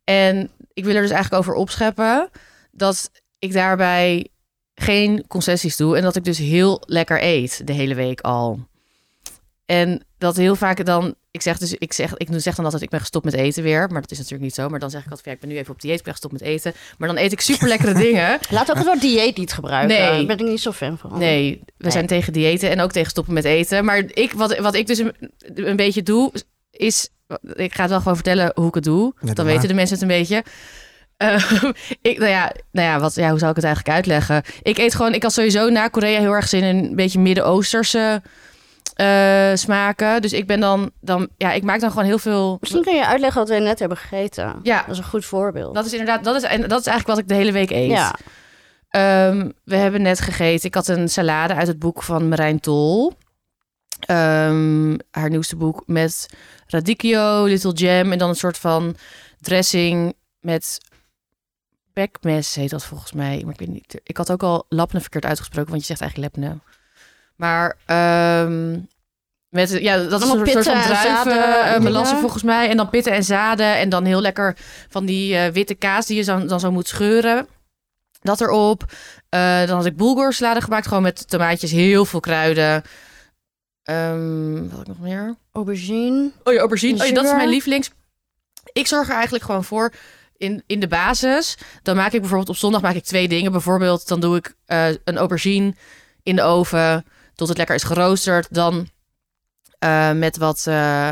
Speaker 1: En ik wil er dus eigenlijk over opscheppen dat ik daarbij geen concessies doe. En dat ik dus heel lekker eet de hele week al. En dat heel vaak dan, ik zeg dus, ik zeg, ik zeg dan altijd, ik ben gestopt met eten weer. Maar dat is natuurlijk niet zo. Maar dan zeg ik altijd, van, ja, ik ben nu even op dieet, ik ben gestopt met eten. Maar dan eet ik super lekkere dingen.
Speaker 2: Laat ook het woord dieet niet gebruiken.
Speaker 1: Nee.
Speaker 2: Daar ben ik niet zo fan van.
Speaker 1: Nee, we
Speaker 2: Nee.
Speaker 1: zijn tegen diëten en ook tegen stoppen met eten. Maar ik, wat, wat ik dus een, een beetje doe, is... Ik ga het wel gewoon vertellen hoe ik het doe.
Speaker 3: Ja, doe
Speaker 1: Dan
Speaker 3: maar.
Speaker 1: weten de mensen het een beetje. Ehm, ik, nou ja, nou ja, wat, ja, hoe zou ik het eigenlijk uitleggen? Ik eet gewoon... Ik had sowieso na Korea heel erg zin in een beetje Midden-Oosterse eh, smaken. Dus ik ben dan, dan... Ja, ik maak dan gewoon heel veel...
Speaker 2: Misschien kun je uitleggen wat wij net hebben gegeten.
Speaker 1: Ja,
Speaker 2: Dat is een goed voorbeeld.
Speaker 1: dat is inderdaad... Dat is, en dat is eigenlijk wat ik de hele week eet.
Speaker 2: ja.
Speaker 1: Ehm, we hebben net gegeten. Ik had een salade uit het boek van Marijn Tol. Ehm, haar nieuwste boek met radicchio, little jam en dan een soort van dressing met pekmes heet dat volgens mij. Maar ik weet niet. Ik had ook al lapne verkeerd uitgesproken, want je zegt eigenlijk lepne. Maar ehm, met ja, dat is een
Speaker 2: Allemaal
Speaker 1: soort van
Speaker 2: pitten en
Speaker 1: druiven,
Speaker 2: zaden en
Speaker 1: eh, melassen
Speaker 2: dingen.
Speaker 1: volgens mij, en dan pitten en zaden en dan heel lekker van die eh, witte kaas die je dan, dan zo moet scheuren. Dat erop. Eh, dan had ik bulgur salade gemaakt, gewoon met tomaatjes, heel veel kruiden. Ehm, wat had ik nog meer?
Speaker 2: Aubergine.
Speaker 1: Oh ja, aubergine. Oh ja, dat is
Speaker 2: Sugar.
Speaker 1: mijn lievelings. Ik zorg er eigenlijk gewoon voor in, in de basis. Dan maak ik bijvoorbeeld op zondag maak ik twee dingen. Bijvoorbeeld dan doe ik eh, een aubergine in de oven tot het lekker is geroosterd. Dan eh, met wat eh,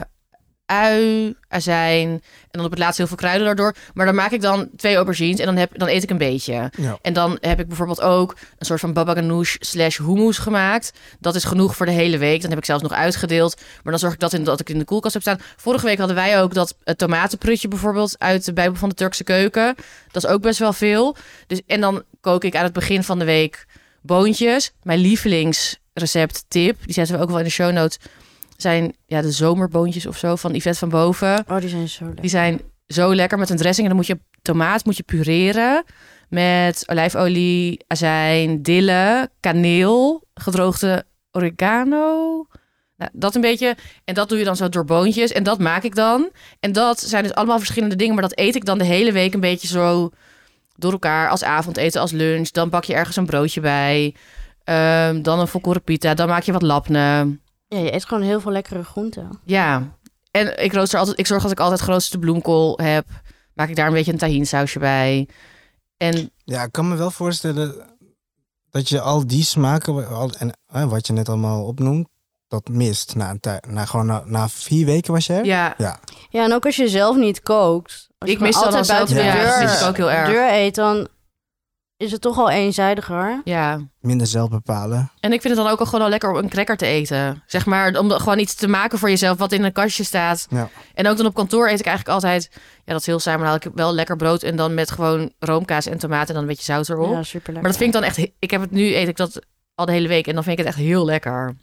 Speaker 1: ui, azijn en dan op het laatst heel veel kruiden daardoor. Maar dan maak ik dan twee aubergines en dan, heb, dan eet ik een beetje.
Speaker 3: Ja.
Speaker 1: En dan heb ik bijvoorbeeld ook een soort van baba ganoush slash hummus gemaakt. Dat is genoeg voor de hele week. Dan heb ik zelfs nog uitgedeeld. Maar dan zorg ik dat, in, dat ik in de koelkast heb staan. Vorige week hadden wij ook dat eh, tomatenprutje bijvoorbeeld uit de Bijbel van de Turkse keuken. Dat is ook best wel veel. Dus, en dan kook ik aan het begin van de week boontjes. Mijn lievelingsrecept tip, die zetten we ook wel in de show notes, zijn ja, de zomerboontjes of zo van Yvette van Boven.
Speaker 2: Oh, die zijn zo lekker.
Speaker 1: Die zijn zo lekker met een dressing. En dan moet je tomaat moet je pureren met olijfolie, azijn, dille, kaneel, gedroogde oregano. Nou, dat een beetje. En dat doe je dan zo door boontjes. En dat maak ik dan. En dat zijn dus allemaal verschillende dingen. Maar dat eet ik dan de hele week een beetje zo door elkaar. Als avondeten, als lunch. Dan bak je ergens een broodje bij. Ehm, dan een volkoren pita. Dan maak je wat lapne.
Speaker 2: Ja, je eet gewoon heel veel lekkere groenten.
Speaker 1: Ja, en ik, rooster altijd, ik zorg dat ik altijd geroosterde bloemkool heb. Maak ik daar een beetje een tahinsausje bij. En
Speaker 3: ja, ik kan me wel voorstellen dat je al die smaken al, en eh, wat je net allemaal opnoemt, dat mist. Na, een tij- na, gewoon na, na vier weken was je er?
Speaker 1: ja,
Speaker 2: Ja, en ook als je zelf niet kookt. Als je
Speaker 1: ik mis
Speaker 2: gewoon
Speaker 1: dat dan
Speaker 2: altijd
Speaker 1: zelf.
Speaker 2: buiten
Speaker 1: Ja,
Speaker 2: de
Speaker 3: zelf-
Speaker 1: dat
Speaker 2: deur,
Speaker 1: mis ik ook heel erg.
Speaker 2: deur eet, dan is het toch al eenzijdiger.
Speaker 1: Ja.
Speaker 3: Minder zelf bepalen.
Speaker 1: En ik vind het dan ook al gewoon al lekker om een cracker te eten. Zeg maar, om gewoon iets te maken voor jezelf wat in een kastje staat.
Speaker 3: Ja.
Speaker 1: En ook dan op kantoor eet ik eigenlijk altijd... Ja, dat is heel saai, maar dan haal ik wel lekker brood... en dan met gewoon roomkaas en tomaten en dan een beetje zout erop.
Speaker 2: Ja, super
Speaker 1: Maar dat vind ik dan echt... he- Ik heb het nu, eet ik dat al de hele week... en dan vind ik het echt heel lekker.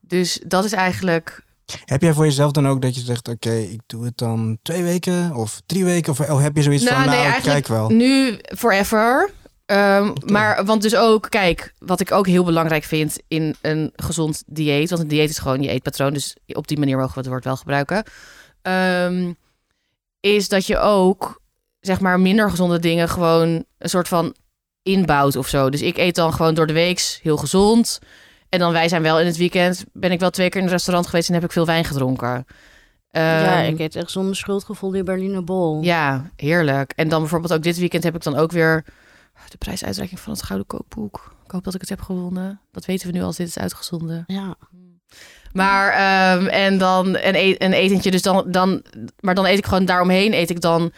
Speaker 1: Dus dat is eigenlijk...
Speaker 3: Heb jij voor jezelf dan ook dat je zegt, oké, ik doe het dan twee weken of drie weken? Of oh, heb je zoiets
Speaker 1: Nou,
Speaker 3: van,
Speaker 1: nee,
Speaker 3: nou, ik
Speaker 1: eigenlijk
Speaker 3: kijk wel.
Speaker 1: Nu forever. Ehm, maar want dus ook, kijk, wat ik ook heel belangrijk vind in een gezond dieet. Want een dieet is gewoon je eetpatroon. Dus op die manier mogen we het woord wel gebruiken. ehm, is dat je ook, zeg maar, minder gezonde dingen gewoon een soort van inbouwt of zo. Dus ik eet dan gewoon door de weeks heel gezond. En dan wij zijn wel in het weekend, ben ik wel twee keer in een restaurant geweest en heb ik veel wijn gedronken.
Speaker 2: ja,
Speaker 1: Ehm,
Speaker 2: ik eet echt zonder schuldgevoel die Berliner Bol.
Speaker 1: ja, heerlijk. En dan bijvoorbeeld ook dit weekend heb ik dan ook weer de prijsuitreiking van het Gouden Kookboek. Ik hoop dat ik het heb gewonnen. Dat weten we nu als dit is uitgezonden.
Speaker 2: Ja.
Speaker 1: Maar ehm, en dan een, e- een etentje, dus dan, dan, maar dan eet ik gewoon daaromheen, eet ik dan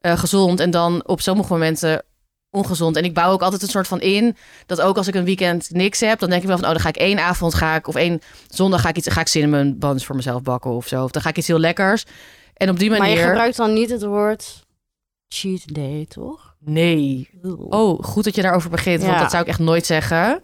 Speaker 1: eh, gezond en dan op sommige momenten ongezond. En ik bouw ook altijd een soort van in dat ook als ik een weekend niks heb, dan denk ik wel van oh, dan ga ik één avond ga ik of één zondag ga ik iets, ga ik cinnamon buns voor mezelf bakken of zo. Of dan ga ik iets heel lekkers. En op die manier.
Speaker 2: Maar je gebruikt dan niet het woord cheat day, toch?
Speaker 1: Nee, Oh, goed dat je daarover begint, want
Speaker 2: Ja.
Speaker 1: dat zou ik echt nooit zeggen.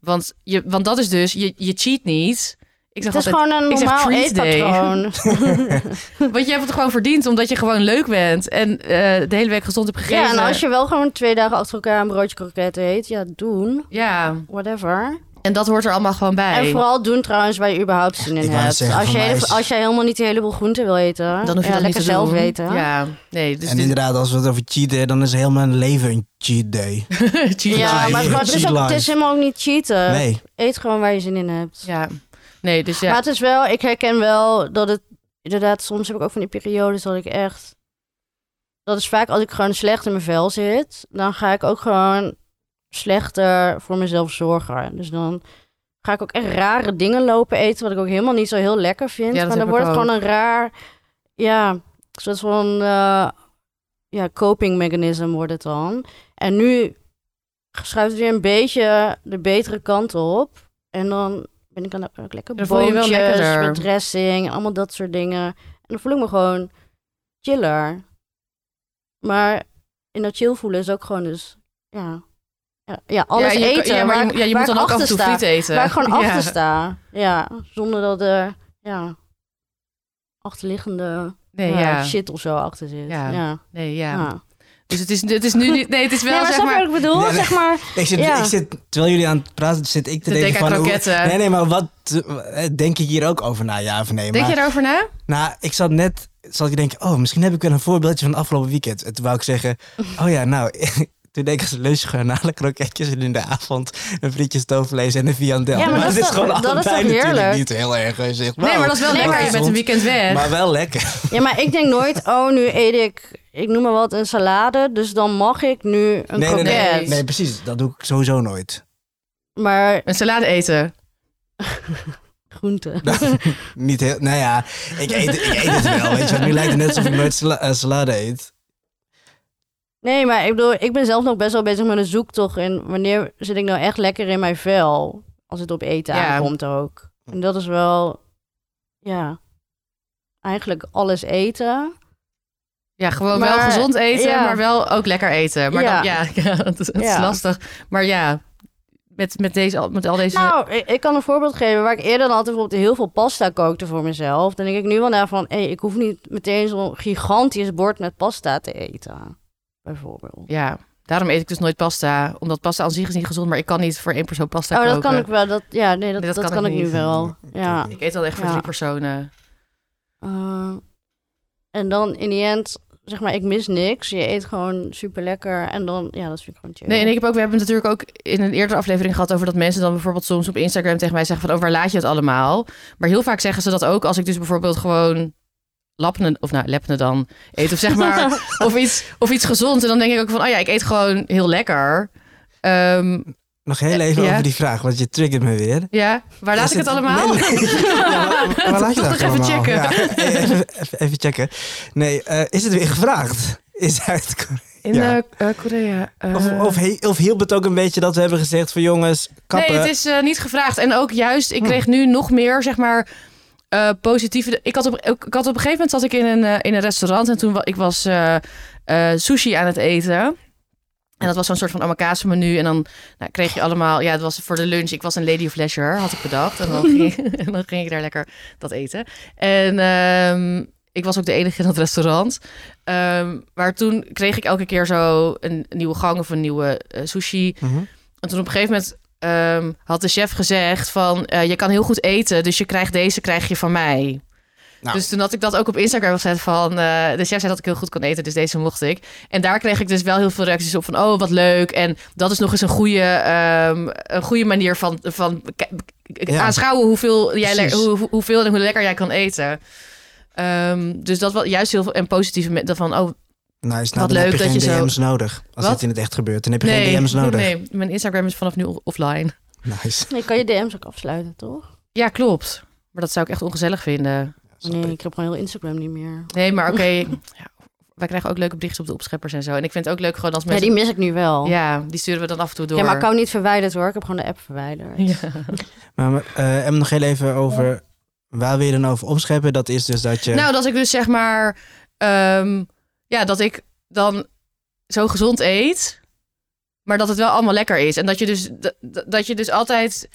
Speaker 1: Want, je, want dat is dus, je, je cheat niet. Ik zeg
Speaker 2: het is
Speaker 1: altijd,
Speaker 2: gewoon een
Speaker 1: ik zeg
Speaker 2: normaal
Speaker 1: cheat day.
Speaker 2: eetpatroon.
Speaker 1: want je hebt het gewoon verdiend omdat je gewoon leuk bent en eh, de hele week gezond hebt gegeten.
Speaker 2: ja, en als je wel gewoon twee dagen achter elkaar een broodje kroket eet, ja, doen.
Speaker 1: Ja,
Speaker 2: Whatever.
Speaker 1: en dat hoort er allemaal gewoon bij.
Speaker 2: En vooral doen trouwens waar je überhaupt zin
Speaker 3: Ik
Speaker 2: in
Speaker 3: wou
Speaker 2: hebt.
Speaker 3: zeggen,
Speaker 2: als,
Speaker 3: voor
Speaker 2: jij,
Speaker 3: mij is-
Speaker 2: als jij helemaal niet een heleboel groenten wil eten,
Speaker 1: dan hoef je dat
Speaker 2: ja, lekker
Speaker 1: niet te
Speaker 2: zelf
Speaker 1: doen.
Speaker 2: weten.
Speaker 1: Ja, nee, dus
Speaker 3: en
Speaker 1: dit-
Speaker 3: inderdaad, als we het over cheat day, dan is heel mijn leven een cheat day.
Speaker 1: cheat
Speaker 2: Ja,
Speaker 1: life.
Speaker 2: maar het, is
Speaker 3: Cheat
Speaker 2: ook, het
Speaker 3: life.
Speaker 2: is helemaal ook niet
Speaker 1: Eh,
Speaker 2: cheaten.
Speaker 3: Nee,
Speaker 2: Eet gewoon waar je zin in hebt.
Speaker 1: Ja, nee, dus ja.
Speaker 2: Maar het is wel, ik herken wel dat het inderdaad, soms heb ik ook van die periodes dat ik echt. Dat is vaak als ik gewoon slecht in mijn vel zit, dan ga ik ook gewoon slechter voor mezelf zorgen. Dus dan ga ik ook echt rare dingen lopen eten, wat ik ook helemaal niet zo heel lekker vind.
Speaker 1: Ja, dat
Speaker 2: maar
Speaker 1: heb
Speaker 2: dan
Speaker 1: ik
Speaker 2: wordt het
Speaker 1: ook.
Speaker 2: gewoon een raar, ja, soort van eh, ja, coping mechanism wordt het dan. En nu schuift het weer een beetje de betere kant op. En dan ben ik dan ook lekker
Speaker 1: Dan voel je je wel
Speaker 2: boontjes
Speaker 1: lekkerder.
Speaker 2: met dressing en allemaal dat soort dingen. En dan voel ik me gewoon chiller. Maar in dat chill voelen is ook gewoon dus, ja, ja, ja alles
Speaker 1: ja, je,
Speaker 2: eten.
Speaker 1: Ja, maar
Speaker 2: waar
Speaker 1: je,
Speaker 2: ik-
Speaker 1: ja, je
Speaker 2: waar
Speaker 1: moet dan
Speaker 2: ik
Speaker 1: ook af en
Speaker 2: achter
Speaker 1: toe
Speaker 2: sta.
Speaker 1: friet eten.
Speaker 2: Waar ik gewoon
Speaker 1: Ja.
Speaker 2: achter sta. Ja, zonder dat er, ja, achterliggende
Speaker 1: Nee,
Speaker 2: ja,
Speaker 1: ja.
Speaker 2: shit of zo achter zit.
Speaker 1: Ja.
Speaker 2: Ja, ja.
Speaker 1: Nee, ja. Dus het is, het is nu niet... Nee, het is wel,
Speaker 2: nee, maar
Speaker 1: zeg
Speaker 2: snap je
Speaker 1: maar...
Speaker 2: wat ik bedoel?
Speaker 3: Ja, nee.
Speaker 2: Zeg maar,
Speaker 3: ik zit,
Speaker 2: Ja.
Speaker 3: ik zit, terwijl jullie aan het praten, zit ik te
Speaker 1: Te
Speaker 3: denken
Speaker 1: denken aan
Speaker 3: van... hoe-
Speaker 1: kroketten.
Speaker 3: nee, nee, maar wat eh, denk ik hier ook over na, ja of nee?
Speaker 1: Denk
Speaker 3: maar,
Speaker 1: je daarover na?
Speaker 3: Nou, ik zat net, zat ik denken, oh, misschien heb ik wel een voorbeeldje van afgelopen weekend. En toen wou ik zeggen, oh ja, nou, toen deed ik als lunch gewoon alle kroketjes en in de avond een frietje stoofvlees en een viandel.
Speaker 2: Ja, maar dat is
Speaker 3: het is
Speaker 2: toch-
Speaker 3: gewoon
Speaker 2: dat is toch
Speaker 3: allebei natuurlijk
Speaker 2: heerlijk?
Speaker 3: niet heel erg. eh, Zeg,
Speaker 1: Nee, maar dat is wel
Speaker 2: Nee,
Speaker 1: lekker.
Speaker 2: maar-
Speaker 1: Je bent een weekend weg.
Speaker 3: Maar wel lekker.
Speaker 2: Ja, maar ik denk nooit, oh, nu eet ik, ik noem maar wat, een salade. Dus dan mag ik nu een
Speaker 3: nee, nee,
Speaker 2: kroket.
Speaker 3: nee,
Speaker 1: kroket.
Speaker 3: nee, precies. Dat doe ik sowieso nooit.
Speaker 2: Maar
Speaker 1: Een salade eten.
Speaker 2: groente.
Speaker 3: Niet heel, nou ja, ik eet, ik eet het wel, weet je wel. Nu lijkt het net alsof ik nooit sala- eh, salade eet.
Speaker 2: Nee, maar ik bedoel, ik ben zelf nog best wel bezig met een zoektocht. En wanneer zit ik nou echt lekker in mijn vel? Als het op eten
Speaker 1: Ja.
Speaker 2: aankomt ook. En dat is wel, ja, eigenlijk alles eten.
Speaker 1: Ja, gewoon wel
Speaker 2: Maar-
Speaker 1: gezond eten,
Speaker 2: ja.
Speaker 1: maar wel ook lekker eten. Maar
Speaker 2: Ja.
Speaker 1: dan, ja, ja, het, is- het is
Speaker 2: Ja.
Speaker 1: lastig. Maar ja, met, met, deze, al- met al deze...
Speaker 2: Nou, ik, ik kan een voorbeeld geven waar ik eerder dan altijd bijvoorbeeld heel veel pasta kookte voor mezelf. Dan denk ik nu wel naar van, hé, ik hoef niet meteen zo'n gigantisch bord met pasta te eten. Bijvoorbeeld.
Speaker 1: Ja, daarom eet ik dus nooit pasta. Omdat pasta aan zich is niet gezond, maar ik kan niet voor één persoon pasta
Speaker 2: oh,
Speaker 1: koken.
Speaker 2: dat kan ik wel. Dat, ja, nee, dat,
Speaker 1: Nee,
Speaker 2: dat, kan, ik nu
Speaker 1: niet.
Speaker 2: wel. Ja.
Speaker 1: Ik eet dan echt voor
Speaker 2: Ja.
Speaker 1: drie personen.
Speaker 2: Eh, en dan in die end, zeg maar, ik mis niks. Je eet gewoon super lekker. En dan, ja, dat vind ik gewoon chill.
Speaker 1: Nee, en ik heb ook, we hebben het natuurlijk ook in een eerdere aflevering gehad over dat mensen dan bijvoorbeeld soms op Instagram tegen mij zeggen van, oh, waar laat je het allemaal? Maar heel vaak zeggen ze dat ook als ik dus bijvoorbeeld gewoon lappen, of nou, leppen dan eet of zeg maar, of iets, of iets gezonds. En dan denk ik ook van, oh ja, ik eet gewoon heel lekker. Ehm,
Speaker 3: Nog heel even
Speaker 1: Ja.
Speaker 3: over die vraag, want je triggert me weer.
Speaker 1: ja, waar laat
Speaker 3: Is
Speaker 1: ik het allemaal?
Speaker 3: Nee, nee. Ja, waar- waar laat je
Speaker 1: Toch nog
Speaker 3: dat
Speaker 1: even
Speaker 3: allemaal?
Speaker 1: checken.
Speaker 3: Ja, even, even- even checken. Nee, eh, is het weer gevraagd? is uit Korea.
Speaker 1: In
Speaker 3: Ja.
Speaker 1: eh, eh, Korea. eh,
Speaker 3: Of, of, he- of hielp het ook een beetje dat we hebben gezegd van jongens, kappen.
Speaker 1: Nee, het is eh, niet gevraagd. En ook juist, ik kreeg nu nog meer, zeg maar, eh, positieve... Ik had, op, ik, ik had op een gegeven moment zat ik in een, eh, in een restaurant... en toen wa- ik was eh, eh, sushi aan het eten... En dat was zo'n soort van omakase menu. En dan nou, kreeg je allemaal... Ja, het was voor de lunch. Ik was een lady of leisure, had ik bedacht. En dan ging, en dan ging ik daar lekker dat eten. En ehm, ik was ook de enige in dat restaurant. Ehm, maar toen kreeg ik elke keer zo een nieuwe gang of een nieuwe eh, sushi.
Speaker 3: Mhm.
Speaker 1: En toen op een gegeven moment ehm, had de chef gezegd van... eh, je kan heel goed eten, dus je krijgt deze krijg je van mij.
Speaker 3: Nou.
Speaker 1: Dus toen had ik dat ook op Instagram gezet van... eh, de chef zei dat ik heel goed kon eten, dus deze mocht ik. En daar kreeg ik dus wel heel veel reacties op van... oh, wat leuk. En dat is nog eens een goede, ehm, een goede manier van... van k- k-
Speaker 3: Ja.
Speaker 1: aanschouwen hoeveel, jij le-
Speaker 3: Precies.
Speaker 1: hoe, hoe- hoeveel en hoe lekker jij kan eten. Ehm, dus dat was juist heel veel en positieve... me- dat van, oh,
Speaker 3: Nice, nou,
Speaker 1: Wat
Speaker 3: dan heb
Speaker 1: leuk
Speaker 3: je
Speaker 1: dat
Speaker 3: geen
Speaker 1: je zo-
Speaker 3: DM's nodig. Als
Speaker 1: Wat?
Speaker 3: dit in het echt gebeurt, dan heb je
Speaker 1: nee,
Speaker 3: geen DM's nodig.
Speaker 1: nee, mijn Instagram is vanaf nu o- offline.
Speaker 3: Nice.
Speaker 2: Nee, kan je DM's ook afsluiten, toch?
Speaker 1: Ja, klopt. Maar dat zou ik echt ongezellig vinden.
Speaker 3: Snap
Speaker 2: Nee,
Speaker 3: ik.
Speaker 2: ik heb gewoon heel Instagram niet meer.
Speaker 1: Nee, maar oké. ja, wij krijgen ook leuke berichten op de opscheppers en zo. En ik vind het ook leuk gewoon als
Speaker 2: Ja,
Speaker 1: mensen...
Speaker 2: die mis ik nu wel. Ja,
Speaker 1: Ja, die sturen we dan af en toe door.
Speaker 2: maar ik kan niet verwijderd hoor. Ik heb gewoon de app verwijderd.
Speaker 1: Ja.
Speaker 3: Maar eh, en nog heel even over waar wil je dan over opscheppen? Dat is dus dat je.
Speaker 1: Nou, dat ik dus zeg maar... ehm, ja, dat ik dan zo gezond eet... Maar dat het wel allemaal lekker is. En dat je dus, dat, dat je dus altijd...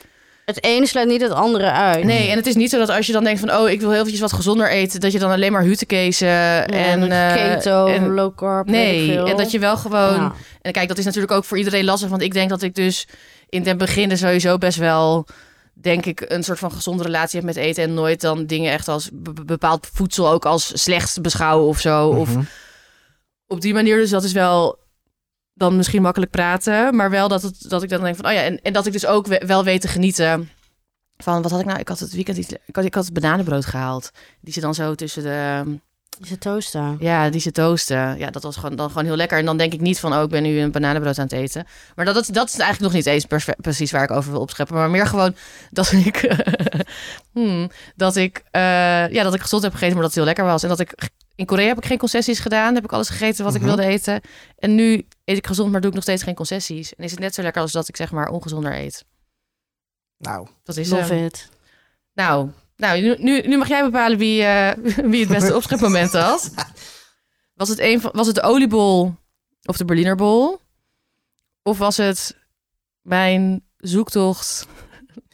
Speaker 2: Het ene sluit niet het andere uit.
Speaker 1: Nee, en het is niet zo dat als je dan denkt van... Oh, ik wil heel eventjes wat gezonder eten. Dat je dan alleen maar hutekezen en...
Speaker 2: en
Speaker 1: eh,
Speaker 2: keto,
Speaker 1: en-
Speaker 2: low carb, weet ik
Speaker 1: nee,
Speaker 2: veel.
Speaker 1: en dat je wel gewoon...
Speaker 2: Ja.
Speaker 1: En kijk, dat is natuurlijk ook voor iedereen lastig. Want ik denk dat ik dus in den beginnen sowieso best wel, denk ik, een soort van gezonde relatie heb met eten. En nooit dan dingen echt als be- bepaald voedsel ook als slecht beschouwen of zo. Of
Speaker 3: Mhm.
Speaker 1: op die manier. Dus dat is wel dan misschien makkelijk praten. Maar wel dat, het, dat ik dan denk van, oh ja, en, en dat ik dus ook we- wel weet te genieten. Van, wat had ik nou? Ik had het weekend iets... Ik had, ik had bananenbrood gehaald. Die ze dan zo tussen de...
Speaker 2: Is het toasten?
Speaker 1: Ja, die ze toosten. Ja, dat was gewoon, dan gewoon heel lekker. En dan denk ik niet van, oh, ik ben nu een bananenbrood aan het eten. Maar dat, dat, dat is eigenlijk nog niet eens perfe- precies waar ik over wil opscheppen. Maar meer gewoon dat ik... hmm, dat ik, eh, ja, dat ik gezond heb gegeten, maar dat het heel lekker was. En dat ik... In Korea heb ik geen concessies gedaan. Heb ik alles gegeten wat
Speaker 3: Mhm.
Speaker 1: ik wilde eten. En nu eet ik gezond, maar doe ik nog steeds geen concessies. En is het net zo lekker als dat ik zeg maar ongezonder eet.
Speaker 3: Nou,
Speaker 1: Dat is eh,
Speaker 2: Love it.
Speaker 1: Nou, nou nu, nu, nu mag jij bepalen wie, eh, wie het beste opschepmoment had. Was het, een van, was het de oliebol of de Berliner bol? Of was het mijn zoektocht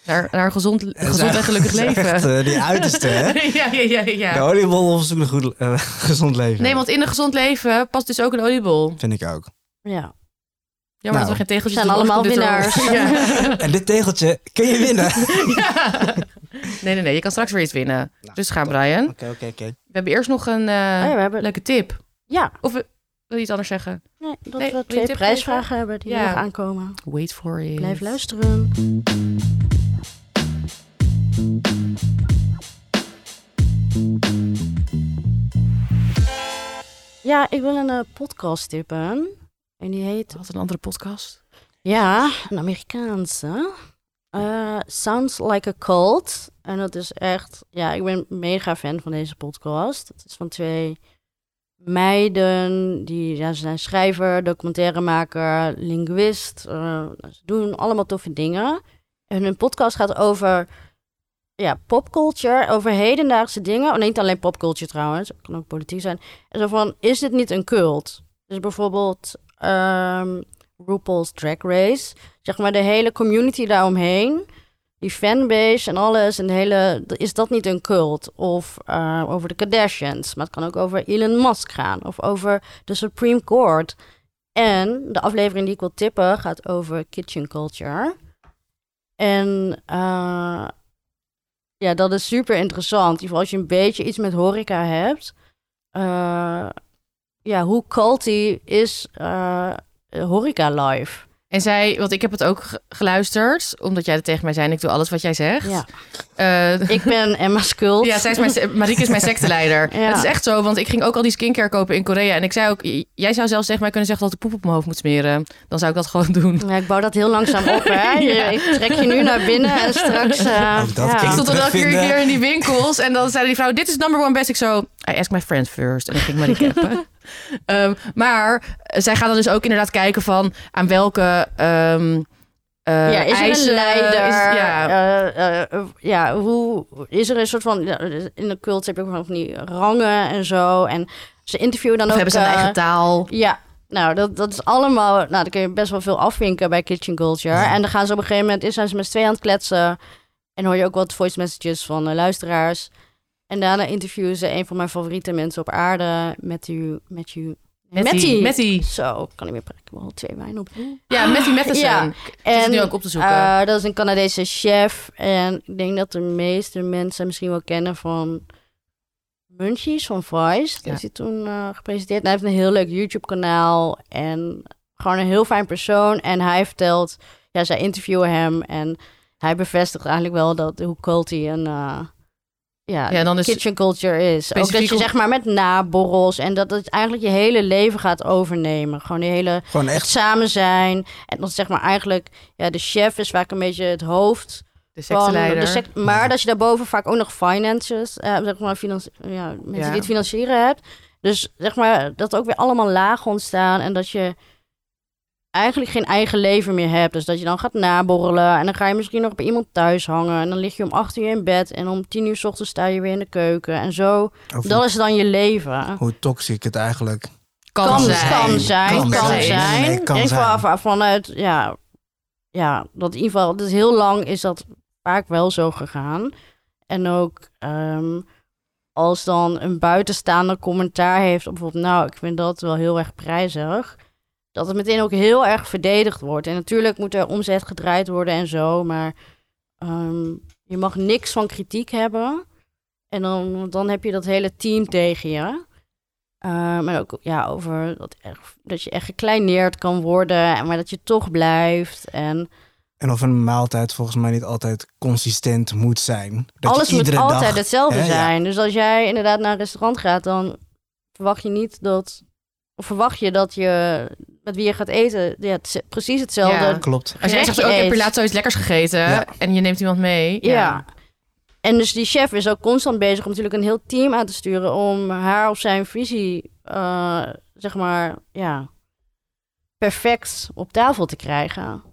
Speaker 1: naar, naar een gezond, gezond en gelukkig
Speaker 3: dat is echt,
Speaker 1: leven?
Speaker 3: eh, die uiterste, hè?
Speaker 1: ja, ja, ja, ja.
Speaker 3: De oliebol of zoek een goed, eh, gezond leven.
Speaker 1: Nee, want in een gezond leven past dus ook een oliebol.
Speaker 3: Vind ik ook.
Speaker 2: Ja.
Speaker 1: Jammer
Speaker 3: Nou.
Speaker 1: dat we geen tegeltjes
Speaker 2: Zijn
Speaker 1: doen,
Speaker 2: allemaal
Speaker 1: anders komt dit door. Ja.
Speaker 3: En dit tegeltje kun je winnen. Oké,
Speaker 1: Ja. Nee, nee, nee. Je kan straks weer iets winnen.
Speaker 3: Nou,
Speaker 1: Dus gaan, Brian.
Speaker 3: oké, oké.
Speaker 1: We hebben eerst nog een eh,
Speaker 2: Oh ja, we hebben...
Speaker 1: leuke tip.
Speaker 2: Ja,
Speaker 1: Wil je iets anders zeggen?
Speaker 2: nee, dat
Speaker 1: Nee, wil
Speaker 2: we
Speaker 1: je
Speaker 2: twee
Speaker 1: tip
Speaker 2: prijsvragen hebben die
Speaker 1: Ja.
Speaker 2: nog aankomen.
Speaker 1: Wait for it.
Speaker 2: Blijf luisteren. Ja, ik wil een eh, podcast tippen. En die heet
Speaker 1: Had een andere podcast.
Speaker 2: Ja, een Amerikaanse. Eh, sounds like a cult. En dat is echt, ja, ik ben mega fan van deze podcast. Het is van twee meiden, die ja, ze zijn schrijver, documentairemaker, linguist. eh, nou, ze doen allemaal toffe dingen. En hun podcast gaat over ja, popculture, over hedendaagse dingen. Oh, niet alleen popculture trouwens, het kan ook politiek zijn. En zo van, is dit niet een cult? Dus bijvoorbeeld... ehm, RuPaul's Drag Race. Zeg maar de hele community daaromheen. Die fanbase en alles. En de hele, is dat niet een cult? Of eh, over de Kardashians. Maar het kan ook over Elon Musk gaan. Of over de Supreme Court. En de aflevering die ik wil tippen gaat over kitchen culture. En eh, ja, dat is super interessant. Vooral als je een beetje iets met horeca hebt. eh, ja, hoe culty is eh, eh, horeca live.
Speaker 1: En zij, want ik heb het ook ge- geluisterd, omdat jij er tegen mij zei en ik doe alles wat jij zegt.
Speaker 2: Ja.
Speaker 1: Eh,
Speaker 2: Ik ben Emma Skult.
Speaker 1: ja, zij is mijn, se- Marieke is mijn secteleider.
Speaker 2: Ja.
Speaker 1: Het is echt zo, want ik ging ook al die skincare kopen in Korea. En ik zei ook, j- jij zou zelfs tegen mij kunnen zeggen dat ik poep op mijn hoofd moet smeren. Dan zou ik dat gewoon doen.
Speaker 2: Ja, ik bouw dat heel langzaam op, hè. Je-
Speaker 1: Ja.
Speaker 2: Ik trek je nu naar binnen en straks... eh,
Speaker 3: Ook Oh,
Speaker 1: Ik
Speaker 3: dat klinkt-
Speaker 2: ja.
Speaker 1: stond dan elke keer
Speaker 3: Terugvinden.
Speaker 1: weer in die winkels en dan zei die vrouw, dit is number one best. Ik zo, I ask my friends first. En dan ging ik Marieke appen. Ehm, maar zij gaan dan dus ook inderdaad kijken van aan welke ehm eh,
Speaker 2: ja, is er
Speaker 1: eisen-
Speaker 2: een leider?
Speaker 1: is- ja.
Speaker 2: Eh, eh, eh, ja, hoe is er een soort van. ja, In de cult heb je ook van die rangen en zo. En ze interviewen dan
Speaker 1: Of
Speaker 2: ook.
Speaker 1: hebben ze een
Speaker 2: eh,
Speaker 1: eigen taal?
Speaker 2: Ja, nou, dat, dat is allemaal... Nou, daar kun je best wel veel afwinken bij Kitchen Culture.
Speaker 3: Ja.
Speaker 2: En dan gaan ze op een gegeven moment... is zijn ze met z'n tweeën aan het kletsen. En hoor je ook wat voice messages van eh, luisteraars. En daarna interviewen ze een van mijn favoriete mensen op aarde. Matthew... Matthew...
Speaker 1: Mattie.
Speaker 2: Matty.
Speaker 1: Mattie.
Speaker 2: Zo, ik kan niet meer praten. Ik heb al twee wijn op.
Speaker 1: Ja, Mattie Matheson.
Speaker 2: Ah, Ja.
Speaker 1: Het is nu ook op te zoeken.
Speaker 2: eh, dat is een Canadese chef. En ik denk dat de meeste mensen hem misschien wel kennen van Munchies van Vice. Dat
Speaker 1: Ja.
Speaker 2: heeft hij toen eh, gepresenteerd. En hij heeft een heel leuk YouTube-kanaal. En gewoon een heel fijn persoon. En hij vertelt, ja, zij interviewen hem. En hij bevestigt eigenlijk wel dat hoe culty een. eh, ja,
Speaker 1: ja, dan is
Speaker 2: kitchen culture is. Ook dat
Speaker 1: specifiek
Speaker 2: je
Speaker 1: om-
Speaker 2: zeg maar met naborrels en dat het eigenlijk je hele leven gaat overnemen. Gewoon die hele
Speaker 3: Gewoon
Speaker 2: echt
Speaker 3: echt.
Speaker 2: samen zijn. En dan zeg maar eigenlijk, ja, de chef is vaak een beetje het hoofd
Speaker 1: de
Speaker 2: van
Speaker 1: secteleider.
Speaker 2: de sect. Maar
Speaker 3: Ja.
Speaker 2: dat je daarboven vaak ook nog finances, eh, zeg maar, financi- ja, mensen
Speaker 1: Ja.
Speaker 2: die het financieren hebt. Dus zeg maar, dat er ook weer allemaal lagen ontstaan en dat je eigenlijk geen eigen leven meer hebt. Dus dat je dan gaat naborrelen en dan ga je misschien nog bij iemand thuis hangen. En dan lig je om acht uur in bed en om tien uur 's ochtends sta je weer in de keuken. En zo,
Speaker 3: Over
Speaker 2: dat is dan je leven
Speaker 3: hoe toxisch het eigenlijk
Speaker 1: kan,
Speaker 2: kan
Speaker 1: zijn.
Speaker 2: Kan zijn.
Speaker 1: Kan
Speaker 2: Kan,
Speaker 1: zijn.
Speaker 2: zijn.
Speaker 3: Nee, nee, nee, kan
Speaker 2: ik
Speaker 3: zijn.
Speaker 2: wou af- vanuit, ja, ja, dat in ieder geval, dus heel lang is dat vaak wel zo gegaan. En ook ehm, als dan een buitenstaander commentaar heeft op bijvoorbeeld, nou, ik vind dat wel heel erg prijzig. Dat het meteen ook heel erg verdedigd wordt. En natuurlijk moet er omzet gedraaid worden en zo, maar ehm, je mag niks van kritiek hebben. En dan, want dan heb je dat hele team tegen je. Eh, maar ook ja, over dat, echt, dat je echt gekleineerd kan worden, en maar dat je toch blijft. En
Speaker 3: En of een maaltijd volgens mij niet altijd consistent moet zijn. Dat
Speaker 2: alles
Speaker 3: je
Speaker 2: moet
Speaker 3: iedere
Speaker 2: altijd
Speaker 3: dag,
Speaker 2: hetzelfde
Speaker 3: hè, ja.
Speaker 2: zijn. Dus als jij inderdaad naar een restaurant gaat, dan verwacht je niet dat. Of verwacht je dat je met wie je gaat eten, ja, het is precies hetzelfde.
Speaker 1: Ja.
Speaker 3: Klopt.
Speaker 1: Als jij zegt,
Speaker 2: gerechtje
Speaker 1: ook heb je
Speaker 2: eet.
Speaker 1: laatst zoiets lekkers gegeten
Speaker 3: Ja.
Speaker 1: en je neemt iemand mee.
Speaker 2: Ja. En dus die chef is ook constant bezig om natuurlijk een heel team aan te sturen om haar of zijn visie, eh, zeg maar, ja, perfect op tafel te krijgen.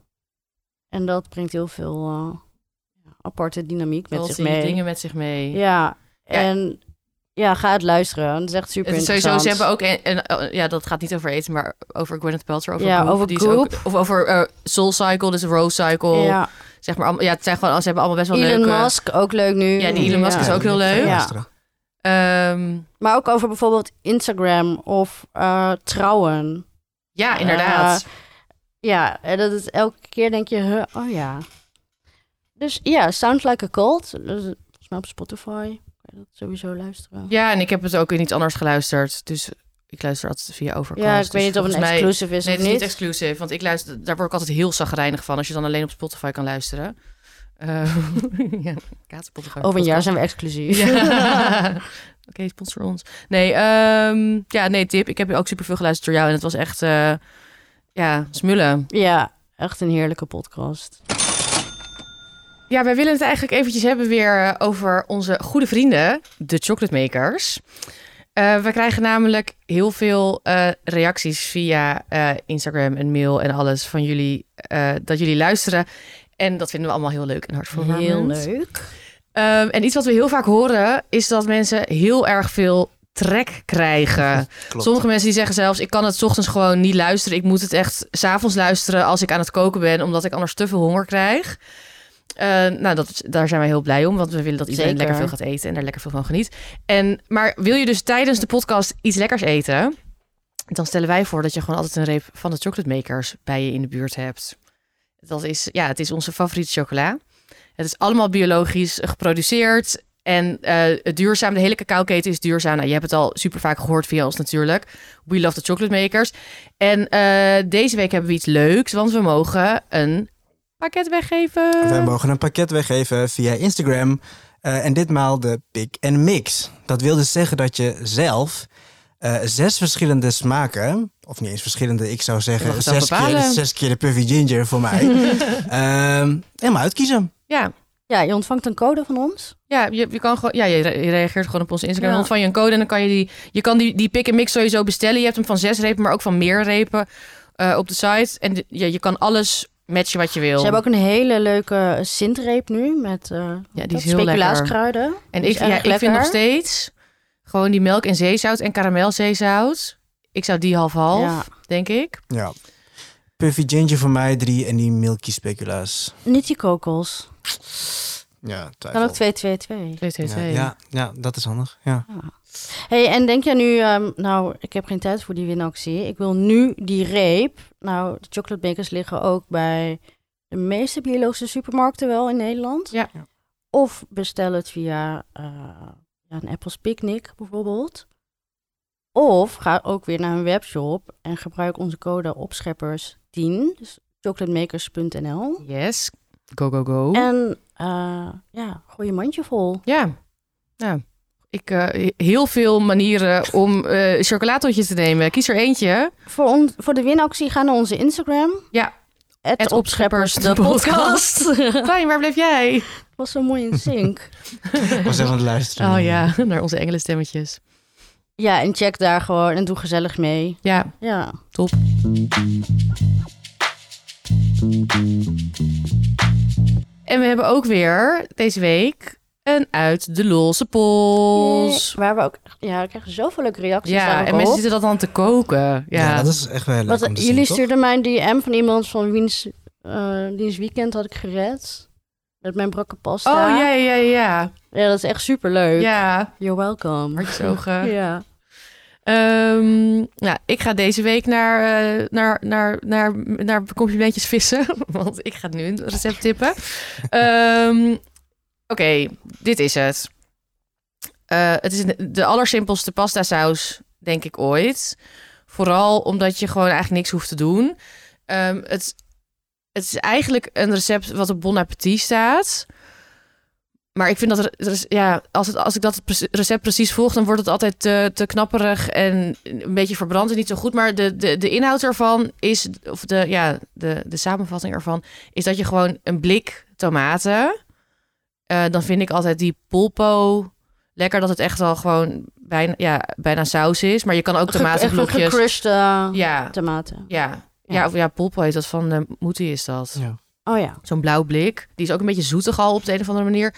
Speaker 2: En dat brengt heel veel eh, aparte dynamiek met
Speaker 1: Met
Speaker 2: zich mee.
Speaker 1: dingen met zich mee.
Speaker 2: Ja, en ja, ga het luisteren. Dat is echt super
Speaker 1: Het is sowieso,
Speaker 2: interessant.
Speaker 1: ze hebben ook, een, een- eh, ja, dat gaat niet over eten, maar over Gwyneth Paltrow. Over
Speaker 2: Ja,
Speaker 1: Goop,
Speaker 2: over
Speaker 1: die is ook- of over eh, Soul Cycle, dus Rose Cycle.
Speaker 2: ja.
Speaker 1: Zeg maar, allemaal- ja, het zijn gewoon, ze hebben allemaal best wel
Speaker 2: Elon
Speaker 1: leuke...
Speaker 2: Musk, ook leuk nu.
Speaker 1: Ja, die Elon Musk
Speaker 2: Ja.
Speaker 1: is ook heel leuk.
Speaker 3: Ja.
Speaker 1: Ehm,
Speaker 2: Maar ook over bijvoorbeeld Instagram of eh, trouwen.
Speaker 1: ja, inderdaad.
Speaker 2: Ja, en dat is elke keer denk je, huh, oh ja. Dus ja, Sounds Like a Cult. Dat is volgens mij op Spotify. Kan je dat sowieso luisteren.
Speaker 1: ja, en ik heb het ook in iets anders geluisterd. Dus ik luister altijd via
Speaker 2: Ja,
Speaker 1: Overcast.
Speaker 2: ik weet niet
Speaker 1: dus
Speaker 2: of het
Speaker 1: volgens
Speaker 2: een
Speaker 1: mij-
Speaker 2: exclusive is
Speaker 1: Nee, het
Speaker 2: of
Speaker 1: is
Speaker 2: niet.
Speaker 1: niet exclusief, want ik luister, daar word ik altijd heel zagrijnig van als je dan alleen op Spotify kan luisteren. Eh ja, kaat Spotify.
Speaker 2: Over een
Speaker 1: podcast.
Speaker 2: jaar zijn we exclusief.
Speaker 1: Ja. Oké, sponsor ons. Nee, ehm, ja, nee, tip. Ik heb ook superveel geluisterd door jou en het was echt, eh, ja, smullen.
Speaker 2: ja, echt een heerlijke podcast.
Speaker 1: Ja, wij willen het eigenlijk eventjes hebben weer eh, over onze goede vrienden, de Chocolate Makers. Eh, we krijgen namelijk heel veel eh, reacties via eh, Instagram en mail en alles van jullie, eh, dat jullie luisteren. En dat vinden we allemaal heel leuk en hartverwarmend.
Speaker 2: Heel leuk.
Speaker 1: Ehm, en iets wat we heel vaak horen is dat mensen heel erg veel trek krijgen.
Speaker 3: Klopt.
Speaker 1: Sommige mensen die zeggen zelfs, ik kan het 's ochtends gewoon niet luisteren. Ik moet het echt s'avonds luisteren als ik aan het koken ben, omdat ik anders te veel honger krijg. Eh, nou, dat, is- daar zijn wij heel blij om, want we willen dat iedereen
Speaker 2: Zeker.
Speaker 1: lekker veel gaat eten en daar lekker veel van geniet. En, maar wil je dus tijdens de podcast iets lekkers eten, dan stellen wij voor dat je gewoon altijd een reep van de chocolate makers bij je in de buurt hebt. Dat is, ja, het is onze favoriete chocola. Het is allemaal biologisch geproduceerd en eh, het duurzaam. De hele cacaoketen is duurzaam. Nou, je hebt het al super vaak gehoord via ons natuurlijk. We love the chocolate makers. En eh, deze week hebben we iets leuks, want we mogen een pakket weggeven.
Speaker 3: Wij mogen een pakket weggeven via Instagram. eh, en ditmaal de pick and mix. Dat wil dus zeggen dat je zelf eh, zes verschillende smaken, of niet eens verschillende, ik zou
Speaker 1: Je mag
Speaker 3: zeggen
Speaker 1: het zelf
Speaker 3: zes keer,
Speaker 1: bepalen.
Speaker 3: zes keer de Puffy Ginger voor mij, ehm helemaal uitkiezen.
Speaker 1: Ja,
Speaker 2: Ja, je ontvangt een code van ons.
Speaker 1: Ja, je, je, kan gewoon, ja, je re- je reageert gewoon op onze Instagram.
Speaker 2: Ja.
Speaker 1: Dan ontvang je een code en dan kan je die... Je kan die, die pick en mix sowieso bestellen. Je hebt hem van zes repen, maar ook van meer repen eh, op de site. En de- ja, je kan alles matchen wat je wil.
Speaker 2: Ze hebben ook een hele leuke sintreep nu met eh
Speaker 1: ja, die
Speaker 2: dat,
Speaker 1: is heel lekker.
Speaker 2: speculaaskruiden.
Speaker 1: En
Speaker 2: Die
Speaker 1: ik,
Speaker 2: is
Speaker 1: ja,
Speaker 2: erg
Speaker 1: ik vind
Speaker 2: Dus lekker.
Speaker 1: nog steeds gewoon die melk en zeezout en karamelzeezout. Ik zou die half-half,
Speaker 2: Ja.
Speaker 1: denk ik.
Speaker 3: Ja. Puffy Ginger voor mij drie en die Milky Speculaas.
Speaker 2: Niet die kokos.
Speaker 3: Ja, twijfel.
Speaker 2: Dan ook 222.
Speaker 1: Twee, twee,
Speaker 3: ja,
Speaker 1: twee.
Speaker 3: ja, ja, dat is handig. Ja.
Speaker 2: Hey, en denk jij nu, ehm, nou, ik heb geen tijd voor die winactie. Ik wil nu die reep. Nou, de chocoladebakers liggen ook bij de meeste biologische supermarkten wel in Nederland.
Speaker 1: Ja.
Speaker 3: Ja.
Speaker 2: Of bestel het via eh, ja, een Apples Picnic bijvoorbeeld. Of ga ook weer naar een webshop en gebruik onze code opscheppers10, dus chocolademakers.nl.
Speaker 1: Yes. Go, go, go.
Speaker 2: En eh, ja, gooi je mandje vol.
Speaker 1: Ja. ja. Ik, eh, heel veel manieren om eh chocolatotjes te nemen. Kies er eentje.
Speaker 2: Voor, ons, voor de winactie ga naar onze Instagram.
Speaker 1: Ja.
Speaker 2: Het opscheppers, de
Speaker 1: podcast.
Speaker 2: podcast. Het
Speaker 1: Klein, waar bleef jij?
Speaker 2: was zo mooi in sync.
Speaker 3: Ik was even aan het luisteren.
Speaker 1: Oh ja, naar onze engelenstemmetjes.
Speaker 2: ja, en check daar gewoon en doe gezellig mee.
Speaker 1: Ja,
Speaker 2: Ja.
Speaker 1: top. En we hebben ook weer deze week een uit de lolse pols.
Speaker 2: Waar we ook, ja, we krijgen zoveel leuke reacties
Speaker 1: Ja,
Speaker 2: daar
Speaker 1: en
Speaker 2: ook
Speaker 1: mensen
Speaker 2: op.
Speaker 1: zitten dat dan te koken. Ja,
Speaker 3: Ja, dat is echt wel leuk
Speaker 2: Wat,
Speaker 3: om te zien,
Speaker 2: jullie
Speaker 3: toch?
Speaker 2: stuurden mij een DM van iemand van wiens, eh, diens weekend had ik gered. Met mijn brakke
Speaker 1: Oh
Speaker 2: pasta.
Speaker 1: ja, ja, ja.
Speaker 2: Ja, dat is echt superleuk.
Speaker 1: Ja,
Speaker 2: You're welcome.
Speaker 1: hartstogen.
Speaker 2: Ja.
Speaker 1: Ehm, nou, ik ga deze week naar, eh, naar, naar, naar, naar complimentjes vissen. Want ik ga nu een recept tippen. Ehm, Oké, dit is het. Eh, het is de allersimpelste pasta saus, denk ik ooit. Vooral omdat je gewoon eigenlijk niks hoeft te doen. Ehm, het, het is eigenlijk een recept wat op Bon Appetit staat. Maar ik vind dat er, er is- ja, als, het, als ik dat pre- recept precies volg, dan wordt het altijd te, te knapperig en een beetje verbrand en niet zo goed. Maar de, de, de inhoud ervan is, of de, ja, de, de samenvatting ervan, is dat je gewoon een blik tomaten. eh, dan vind ik altijd die polpo lekker, dat het echt al gewoon bijna, ja, bijna saus is. Maar je kan ook
Speaker 2: Ge- echt een
Speaker 1: tomatenvlokjes.
Speaker 2: gecrushed eh,
Speaker 1: Ja,
Speaker 2: tomaten.
Speaker 1: ja.
Speaker 2: Ja.
Speaker 1: Ja, of ja, polpo heet dat van eh Moetie is dat.
Speaker 3: Ja.
Speaker 2: Oh ja.
Speaker 1: Zo'n blauw blik. Die is ook een beetje zoetig al op de een of andere manier.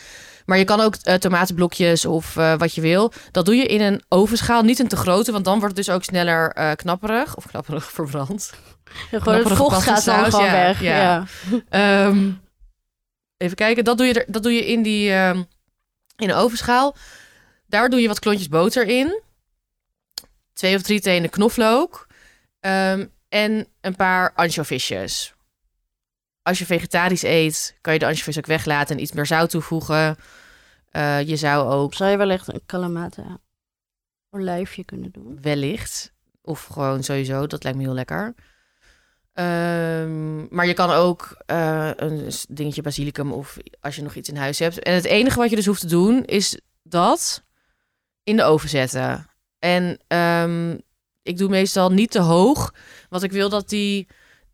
Speaker 1: Maar je kan ook eh, tomatenblokjes of eh, wat je wil. Dat doe je in een ovenschaal. Niet een te grote, want dan wordt het dus ook sneller eh, knapperig. Of knapperig verbrand.
Speaker 2: Gewoon het
Speaker 1: Knapperige
Speaker 2: vocht gaat dan
Speaker 1: pastasaus,
Speaker 2: gewoon
Speaker 1: ja,
Speaker 2: weg.
Speaker 1: ja.
Speaker 2: ja.
Speaker 1: Ehm, even kijken. Dat doe je, er, dat doe je in, die, ehm, in een ovenschaal. Daar doe je wat klontjes boter in. Twee of drie tenen knoflook. Ehm, en een paar anchovisjes. Als je vegetarisch eet, kan je de anchovies ook weglaten en iets meer zout toevoegen. Eh, je zou ook
Speaker 2: Zou je wellicht een kalamata olijfje kunnen doen?
Speaker 1: wellicht. Of gewoon sowieso, dat lijkt me heel lekker. Ehm, maar je kan ook eh, een s- dingetje basilicum of als je nog iets in huis hebt. En het enige wat je dus hoeft te doen is dat in de oven zetten. En ehm, ik doe meestal niet te hoog, want ik wil dat die...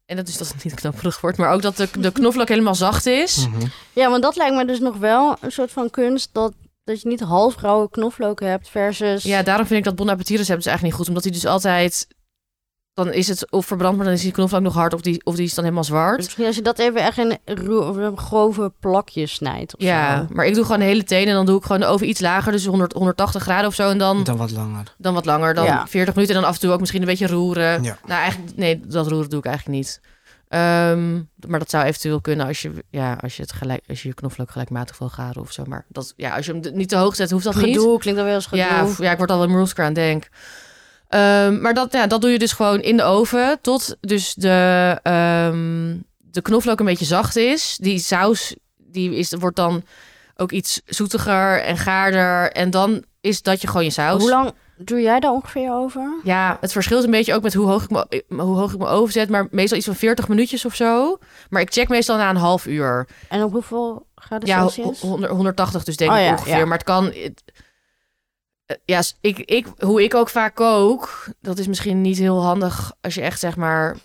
Speaker 1: En dat is dat het niet knapperig wordt, maar ook dat de, de knoflook helemaal zacht is.
Speaker 3: Mhm.
Speaker 2: Ja, want dat lijkt me dus nog wel een soort van kunst dat, dat je niet half rauwe knoflook hebt versus...
Speaker 1: Ja, daarom vind ik dat Bon Appetit recept dus eigenlijk niet goed. Omdat hij dus altijd... Dan is het of verbrand, maar dan is die knoflook nog hard. Of die, of die is dan helemaal zwart.
Speaker 2: Dus Misschien als je dat even echt in ro- of een grove plakjes snijdt of
Speaker 1: Ja,
Speaker 2: zo.
Speaker 1: maar ik doe gewoon de hele teen. En dan doe ik gewoon de oven iets lager. Dus 100, 180 graden of zo. En dan,
Speaker 3: Dan wat langer.
Speaker 1: dan wat langer. Dan
Speaker 2: Ja.
Speaker 1: 40 minuten. En dan af en toe ook misschien een beetje roeren.
Speaker 3: Ja.
Speaker 1: Nou, eigenlijk... Nee, dat roeren doe ik eigenlijk niet. Ehm, maar dat zou eventueel kunnen als je, ja, als je, het gelijk, als je je knoflook gelijkmatig wil garen of zo. Maar dat, ja, als je hem d- niet te hoog zet, hoeft dat niet.
Speaker 2: Gedoe klinkt dan wel eens gedoe.
Speaker 1: Ja, f- ja, ik word al een moerskraan aan denk. Ehm, maar dat, ja, dat doe je dus gewoon in de oven. Tot dus de, ehm, de knoflook een beetje zacht is. Die saus die is, wordt dan ook iets zoetiger en gaarder. En dan is dat je gewoon je saus.
Speaker 2: Hoe lang doe jij daar ongeveer over?
Speaker 1: Ja, het verschilt een beetje ook met hoe hoog ik me, hoe hoog ik me overzet. Maar meestal iets van 40 minuutjes of zo. Maar ik check meestal na een half uur.
Speaker 2: En op hoeveel graden
Speaker 1: Ja,
Speaker 2: Celsius?
Speaker 1: ho- honderd- 180 dus denk
Speaker 2: Oh
Speaker 1: ik
Speaker 2: ja,
Speaker 1: ongeveer.
Speaker 2: ja.
Speaker 1: Maar het kan... het- eh, ja, s- ik, ik, hoe ik ook vaak kook... dat is misschien niet heel handig als je echt zeg maar...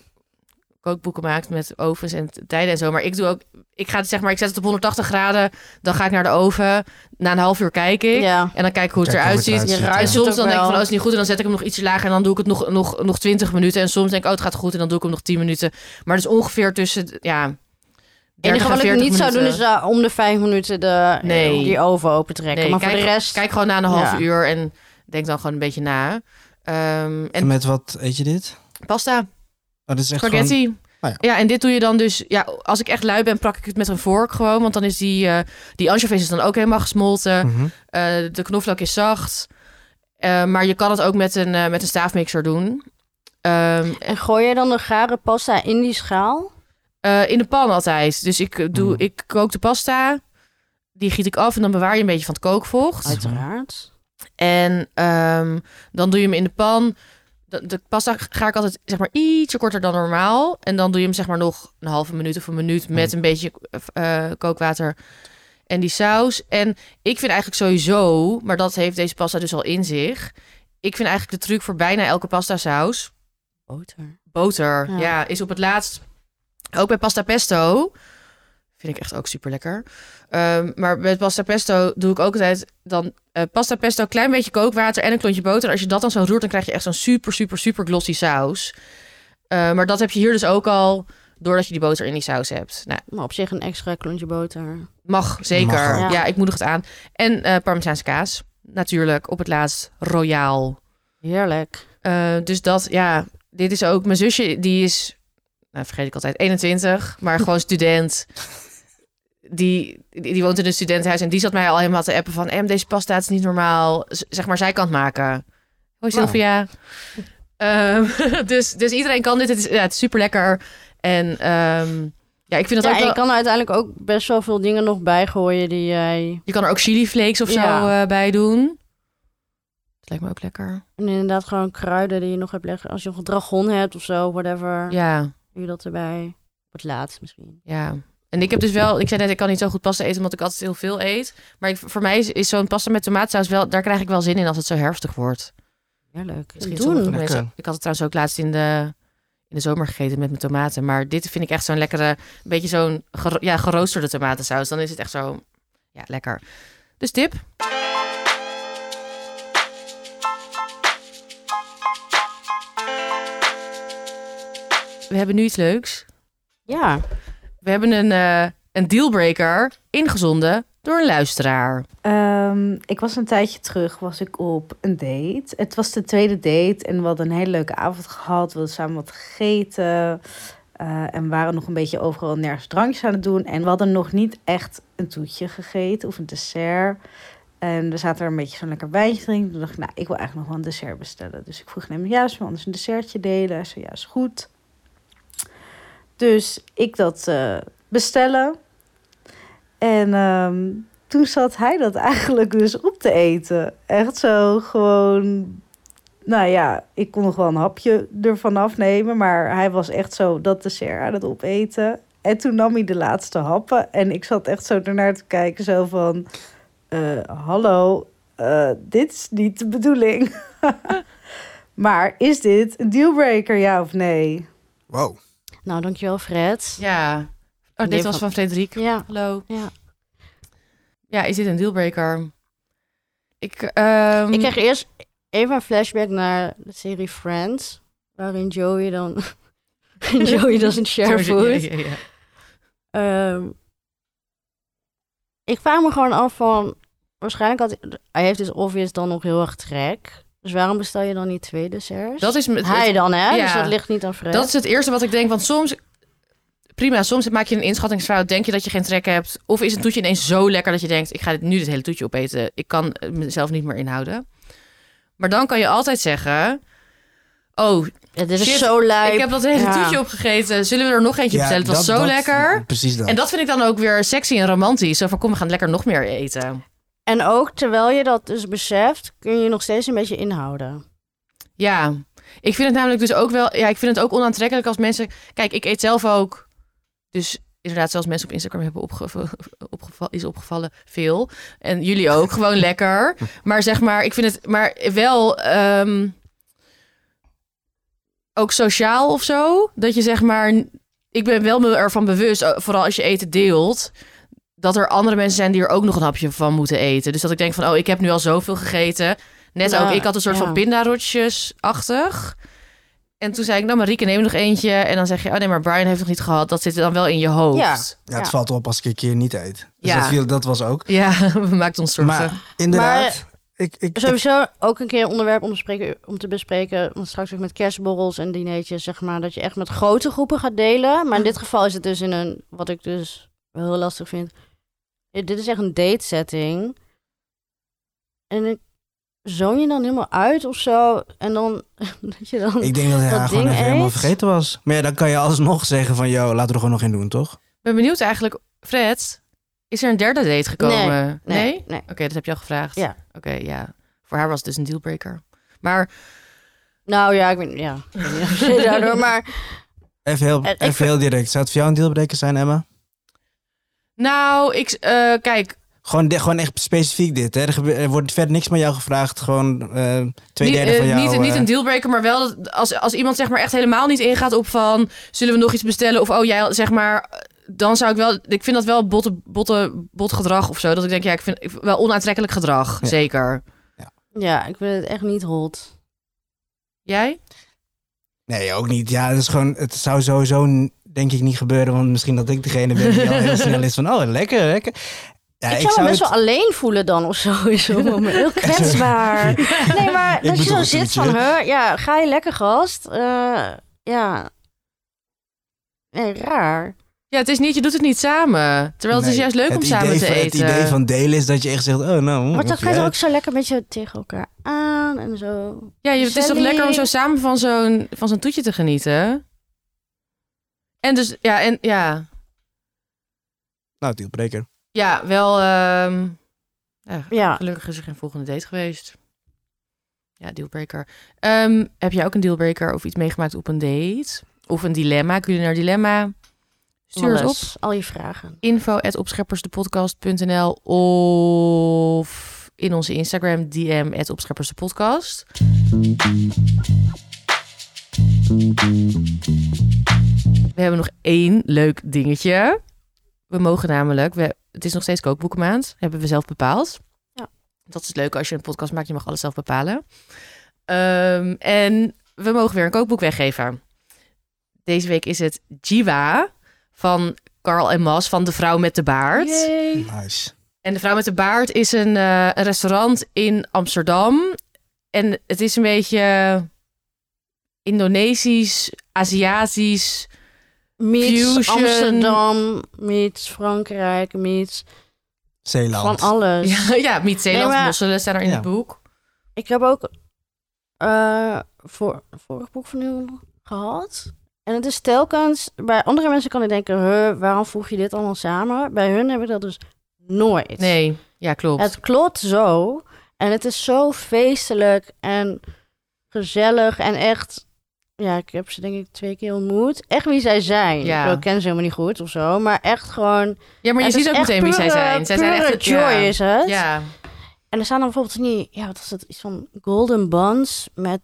Speaker 1: kookboeken maakt met ovens en t- tijden en zo. Maar ik doe ook, ik ga het zeg maar, ik zet het op 180 graden, dan ga ik naar de oven. Na een half uur kijk ik
Speaker 2: Ja.
Speaker 1: en dan kijk ik hoe het
Speaker 3: Kijk hoe
Speaker 1: eruit
Speaker 3: het
Speaker 1: ziet.
Speaker 3: eruit
Speaker 2: Je
Speaker 3: ziet, ja.
Speaker 1: En
Speaker 2: ruist het
Speaker 1: soms
Speaker 2: ook
Speaker 1: dan denk ik van,
Speaker 2: wel.
Speaker 1: oh, is het niet goed. En dan zet ik hem nog iets lager en dan doe ik het nog, nog, nog 20 minuten. En soms denk ik, oh, het gaat goed. En dan doe ik hem nog 10 minuten. Maar het is ongeveer tussen, ja,
Speaker 2: Het
Speaker 1: 30
Speaker 2: enige
Speaker 1: en
Speaker 2: wat ik
Speaker 1: 40
Speaker 2: niet zou doen
Speaker 1: minuten.
Speaker 2: is eh, om de vijf minuten de,
Speaker 1: Nee.
Speaker 2: die oven open trekken.
Speaker 1: Nee,
Speaker 2: maar voor de rest...
Speaker 1: Kijk gewoon na een half
Speaker 2: Ja.
Speaker 1: uur en denk dan gewoon een beetje na. Ehm,
Speaker 3: En
Speaker 1: en
Speaker 3: met wat eet je dit?
Speaker 1: pasta,
Speaker 3: Oh, dit is echt gewoon-
Speaker 1: spaghetti.
Speaker 3: Ah,
Speaker 1: ja. en dit doe je dan dus... Ja, als ik echt lui ben, pak ik het met een vork gewoon. Want dan is die, eh die anchovies is dan ook helemaal gesmolten.
Speaker 3: Mhm.
Speaker 1: Eh, de knoflook is zacht. Eh, maar je kan het ook met een, eh, met een staafmixer doen. Ehm,
Speaker 2: En gooi je dan de gare pasta in die schaal?
Speaker 1: eh, in de pan altijd. Dus ik, eh, doe,
Speaker 3: Mm.
Speaker 1: ik kook de pasta. Die giet ik af en dan bewaar je een beetje van het kookvocht.
Speaker 2: Uiteraard.
Speaker 1: En ehm, dan doe je hem in de pan. De, de pasta ga ik altijd zeg maar ietsje korter dan normaal. En dan doe je hem zeg maar nog een halve minuut of een minuut met een beetje eh, kookwater en die saus. En ik vind eigenlijk sowieso, maar dat heeft deze pasta dus al in zich. Ik vind eigenlijk de truc voor bijna elke pasta saus
Speaker 2: Boter.
Speaker 1: boter. Ja.
Speaker 2: Ja.
Speaker 1: is op het laatst ook bij pasta pesto. Vind ik echt ook super lekker. Ehm, maar met pasta pesto doe ik ook altijd dan eh, pasta pesto, klein beetje kookwater en een klontje boter. En Als je dat dan zo roert, dan krijg je echt zo'n super, super, super glossy saus. Eh, maar dat heb je hier dus ook al doordat je die boter in die saus hebt. Nou,
Speaker 2: Maar op zich een extra klontje boter.
Speaker 1: mag zeker.
Speaker 3: Mag
Speaker 1: ja.
Speaker 2: ook.
Speaker 1: ik moedig het aan. En eh, Parmezaanse kaas, natuurlijk. Op het laatst royaal.
Speaker 2: Heerlijk.
Speaker 1: Eh, dus dat, ja, dit is ook mijn zusje, die is, nou, vergeet ik altijd, 21, maar gewoon student. Die, die, die woont in een studentenhuis en die zat mij al helemaal te appen van, em, deze pasta het is niet normaal. Z- zeg maar, zij kan het maken. Hoi
Speaker 3: Nou.
Speaker 1: Sylvia. Ehm, dus, dus iedereen kan dit, het is, ja, het is super lekker. En ehm, ja, ik vind dat
Speaker 2: Ja,
Speaker 1: ook
Speaker 2: en
Speaker 1: wel,
Speaker 2: je kan er uiteindelijk ook best wel veel dingen nog bijgooien die jij...
Speaker 1: je kan er ook chili flakes of zo
Speaker 2: Ja.
Speaker 1: eh, bij doen. Dat lijkt me ook lekker.
Speaker 2: En inderdaad gewoon kruiden die je nog hebt leggen. Als je nog een dragon hebt of zo, whatever.
Speaker 1: Ja.
Speaker 2: Doe je dat erbij. Op het laatst misschien.
Speaker 1: Ja. En ik heb dus wel, ik zei net, ik kan niet zo goed pasta eten, omdat ik altijd heel veel eet. Maar ik, voor mij is, is zo'n pasta met tomaatsaus wel, daar krijg ik wel zin in als het zo herfstig wordt.
Speaker 2: Heerlijk.
Speaker 1: Misschien sommige
Speaker 2: Doen.
Speaker 1: mensen-
Speaker 3: Lekker.
Speaker 1: Ik had het trouwens ook laatst in de, in de zomer gegeten met mijn tomaten. Maar dit vind ik echt zo'n lekkere, beetje zo'n gero- ja, geroosterde tomatensaus. Dan is het echt zo, ja, lekker. Dus tip. We hebben nu iets leuks.
Speaker 2: Ja.
Speaker 1: We hebben een, eh, een dealbreaker ingezonden door een luisteraar.
Speaker 4: Ehm, ik was een tijdje terug, was ik op een date. Het was de tweede date en we hadden een hele leuke avond gehad. We hadden samen wat gegeten eh, en we waren nog een beetje overal nergens drankjes aan het doen. En we hadden nog niet echt een toetje gegeten of een dessert. En we zaten er een beetje zo'n lekker wijntje te drinken. Toen dacht ik, nou, ik wil eigenlijk nog wel een dessert bestellen. Dus ik vroeg hem, ja, zullen we anders een dessertje delen? Hij zei, ja, is goed. Dus ik dat eh, bestellen. En ehm, toen zat hij dat eigenlijk dus op te eten. Echt zo gewoon. Nou ja, ik kon nog wel een hapje ervan afnemen. Maar hij was echt zo dat dessert aan het opeten. En toen nam hij de laatste happen. En ik zat echt zo ernaar te kijken. Zo van: eh, Hallo, eh, dit is niet de bedoeling. maar is dit een dealbreaker, ja of nee?
Speaker 3: Wow.
Speaker 2: Nou, dankjewel Fred.
Speaker 1: Ja. Oh, dit
Speaker 2: Nee,
Speaker 1: was
Speaker 2: van-
Speaker 1: van Frederik.
Speaker 2: Ja.
Speaker 1: Hallo.
Speaker 2: Ja.
Speaker 1: Ja, is dit een dealbreaker? Ik, ehm,
Speaker 2: Ik kreeg eerst even een flashback naar de serie Friends. Waarin Joey dan... Joey doesn't share
Speaker 1: Sorry,
Speaker 2: food.
Speaker 1: ja, ja, ja.
Speaker 2: Ehm, ik vraag me gewoon af van... Waarschijnlijk had hij- hij heeft dus obvious dan nog heel erg trek. Dus waarom bestel je dan niet twee desserts?
Speaker 1: Dat is met-
Speaker 2: hij dan, hè?
Speaker 1: ja.
Speaker 2: Dus dat ligt niet aan Fred.
Speaker 1: Dat is het eerste wat ik denk. Want soms, prima, soms maak je een inschattingsfout. Denk je dat je geen trek hebt? Of is een toetje ineens zo lekker dat je denkt: ik ga dit, nu dit hele toetje opeten. Ik kan eh, mezelf niet meer inhouden. Maar dan kan je altijd zeggen: Oh,
Speaker 2: Ja, dit is
Speaker 1: Shit,
Speaker 2: zo lui.
Speaker 1: ik heb dat hele
Speaker 2: ja.
Speaker 1: toetje opgegeten. Zullen we er nog eentje
Speaker 3: Ja,
Speaker 1: bestellen? Het was
Speaker 3: dat-
Speaker 1: zo
Speaker 3: dat-
Speaker 1: lekker.
Speaker 3: Precies dat.
Speaker 1: En dat vind ik dan ook weer sexy en romantisch. Zo van, kom, we gaan lekker nog meer eten.
Speaker 2: En ook terwijl je dat dus beseft, kun je je nog steeds een beetje inhouden.
Speaker 1: Ja, ik vind het namelijk dus ook wel... Ja, ik vind het ook onaantrekkelijk als mensen... Kijk, ik eet zelf ook... Dus inderdaad, zoals mensen op Instagram hebben opgevallen... is opgevallen veel. En jullie ook, gewoon lekker. Maar zeg maar, ik vind het... Maar wel... ehm, ook sociaal of zo. Dat je zeg maar, ik ben wel me ervan bewust, eh, vooral als je eten deelt, dat er andere mensen zijn die er ook nog een hapje van moeten eten. Dus dat ik denk van, oh, ik heb nu al zoveel gegeten. Net
Speaker 2: Ja,
Speaker 1: ook, ik had een soort
Speaker 2: ja.
Speaker 1: van pindarotjes-achtig. En toen zei ik, nou Marieke, neem nog eentje. En dan zeg je, oh nee, maar Brian heeft nog niet gehad. Dat zit dan wel in je hoofd.
Speaker 2: Ja.
Speaker 3: Ja,
Speaker 2: Ja.
Speaker 3: het valt op als ik een keer niet eet. Dus
Speaker 1: Ja.
Speaker 3: dat, viel, dat was ook.
Speaker 1: Ja, maakt ons zorgen.
Speaker 3: Maar inderdaad, ik, ik,
Speaker 2: Sowieso ook een keer een onderwerp om, te spreken- om te bespreken. Want straks ook met kerstborrels en dinertjes, zeg maar. Dat je echt met grote groepen gaat delen. Maar in dit geval is het dus in een, wat ik dus wel heel lastig vind. Ja, Dit is echt een date setting. En ik zoon je dan helemaal uit of zo. En dan, dat je dan...
Speaker 3: ik denk dat hij
Speaker 2: dat
Speaker 3: haar gewoon
Speaker 2: ding
Speaker 3: even helemaal
Speaker 2: eet.
Speaker 3: vergeten was. Maar ja, dan kan je alsnog zeggen van, joh, laten we er gewoon nog in doen, toch?
Speaker 1: Ik ben benieuwd eigenlijk, Fred, is er een derde date gekomen? Nee.
Speaker 2: Nee, nee.
Speaker 1: Oké, dat heb je al gevraagd.
Speaker 2: Ja.
Speaker 1: Oké, ja. Voor haar was het dus een dealbreaker. Maar
Speaker 2: Nou ja, ik weet ja. Ik weet niet of je daardoor, maar
Speaker 3: Even heel,
Speaker 2: En ik
Speaker 3: even heel direct. Zou het voor jou een dealbreaker zijn, Emma?
Speaker 1: nou, ik, eh, kijk,
Speaker 3: Gewoon, di- gewoon echt specifiek dit. Hè? Er, gebe- er wordt verder niks van jou gevraagd. Gewoon eh, twee
Speaker 1: niet,
Speaker 3: derde
Speaker 1: eh,
Speaker 3: van jou.
Speaker 1: niet, niet
Speaker 3: eh,
Speaker 1: een dealbreaker, maar wel dat als, als iemand zeg maar echt helemaal niet ingaat op van zullen we nog iets bestellen of oh jij zeg maar, dan zou ik wel, ik vind dat wel botte, botte, bot gedrag of zo. Dat ik denk, ja, ik vind ik- wel onaantrekkelijk gedrag,
Speaker 3: Ja.
Speaker 1: zeker.
Speaker 2: ja, ik vind het echt niet hot.
Speaker 1: Jij?
Speaker 3: Nee, ook niet. Ja, het, is gewoon, het zou sowieso n- denk ik niet gebeuren. Want misschien dat ik degene ben die al heel snel is van... Oh, lekker, lekker. Ja,
Speaker 2: ik, zou me best
Speaker 3: het-
Speaker 2: wel alleen voelen dan of zo. in zo'n moment. Heel kwetsbaar. Nee, maar
Speaker 3: Ik
Speaker 2: dat je
Speaker 3: bedoel
Speaker 2: zo
Speaker 3: het
Speaker 2: zit
Speaker 3: zoetje.
Speaker 2: van, hè, ja, ga je lekker gast? Eh, ja. Nee, raar.
Speaker 1: Ja, het is niet, je doet het niet samen. Terwijl het is
Speaker 3: Nee,
Speaker 1: juist leuk om
Speaker 3: het
Speaker 1: samen
Speaker 3: idee
Speaker 1: te
Speaker 3: van-
Speaker 1: eten.
Speaker 3: Het idee van delen is dat je echt zegt... Oh, nou... mm,
Speaker 2: Maar dan
Speaker 3: wat
Speaker 2: ga je
Speaker 3: jij-
Speaker 2: er ook zo lekker met je tegen elkaar aan en zo.
Speaker 1: Ja, je, het is toch
Speaker 2: Gezellig.
Speaker 1: lekker om zo samen van zo'n van zo'n toetje te genieten. En dus ja, en ja,
Speaker 3: Nou, dealbreaker.
Speaker 1: ja, wel. ehm, ja,
Speaker 2: Ja.
Speaker 1: Ah, Gelukkig is er geen volgende date geweest. Ja, dealbreaker. Ehm, heb jij ook een dealbreaker of iets meegemaakt op een date? Of een dilemma, culinair dilemma? Stuur ons op.
Speaker 2: Alles, Al je vragen.
Speaker 1: info.opscheppersdepodcast.nl of in onze Instagram DM at opscheppersdepodcast. We hebben nog één leuk dingetje. We mogen namelijk, we, het is nog steeds kookboekenmaand, hebben we zelf bepaald.
Speaker 2: Ja.
Speaker 1: Dat is het leuke als je een podcast maakt, je mag alles zelf bepalen. Ehm, en we mogen weer een kookboek weggeven. Deze week is het Jiwa van Carl en Mas van De Vrouw met de Baard.
Speaker 2: Yay.
Speaker 3: Nice.
Speaker 1: En De Vrouw met de Baard is een, eh, een restaurant in Amsterdam. En het is een beetje Indonesisch, Aziatisch.
Speaker 2: Meets
Speaker 1: Fusion.
Speaker 2: Amsterdam, meets Frankrijk, meets van
Speaker 3: Zeeland.
Speaker 2: alles.
Speaker 1: Ja, ja Miet-Zeeland,
Speaker 2: Nee, maar-
Speaker 1: Mosselen staan er in
Speaker 3: Ja.
Speaker 1: het boek.
Speaker 2: Ik heb ook eh voor, vorig boek van u gehad. En het is telkens, bij andere mensen kan ik denken, huh, waarom voeg je dit allemaal samen? Bij hun heb ik dat dus nooit.
Speaker 1: Nee, ja klopt.
Speaker 2: Het klopt zo. En het is zo feestelijk en gezellig en echt... Ja, ik heb ze denk ik twee keer ontmoet. Echt wie zij zijn.
Speaker 1: Ja.
Speaker 2: Ik bedoel, Ik ken ze helemaal niet goed of zo. Maar echt gewoon...
Speaker 1: ja, maar je
Speaker 2: het is
Speaker 1: ziet ook
Speaker 2: echt
Speaker 1: meteen wie zij
Speaker 2: pure-
Speaker 1: zijn. Zij zijn
Speaker 2: pure
Speaker 1: echt
Speaker 2: joy
Speaker 1: ja.
Speaker 2: is het.
Speaker 1: Ja.
Speaker 2: En er staan dan bijvoorbeeld van die, ja, wat is dat? Iets van golden buns met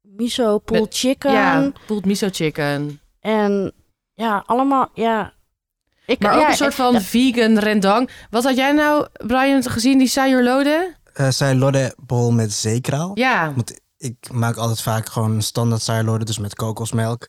Speaker 2: miso pool
Speaker 1: Met-
Speaker 2: chicken.
Speaker 1: ja, pulled miso chicken.
Speaker 2: En ja, allemaal, ja. Ik,
Speaker 1: Maar ook
Speaker 2: ja,
Speaker 1: een soort
Speaker 2: ik-
Speaker 1: van
Speaker 2: ja,
Speaker 1: vegan rendang. Wat had jij nou, Brian, gezien, die sayurlode?
Speaker 3: Eh Sailorde bol met zeekraal.
Speaker 1: Ja.
Speaker 3: Want ik maak altijd vaak gewoon een standaard sailorde, dus met kokosmelk.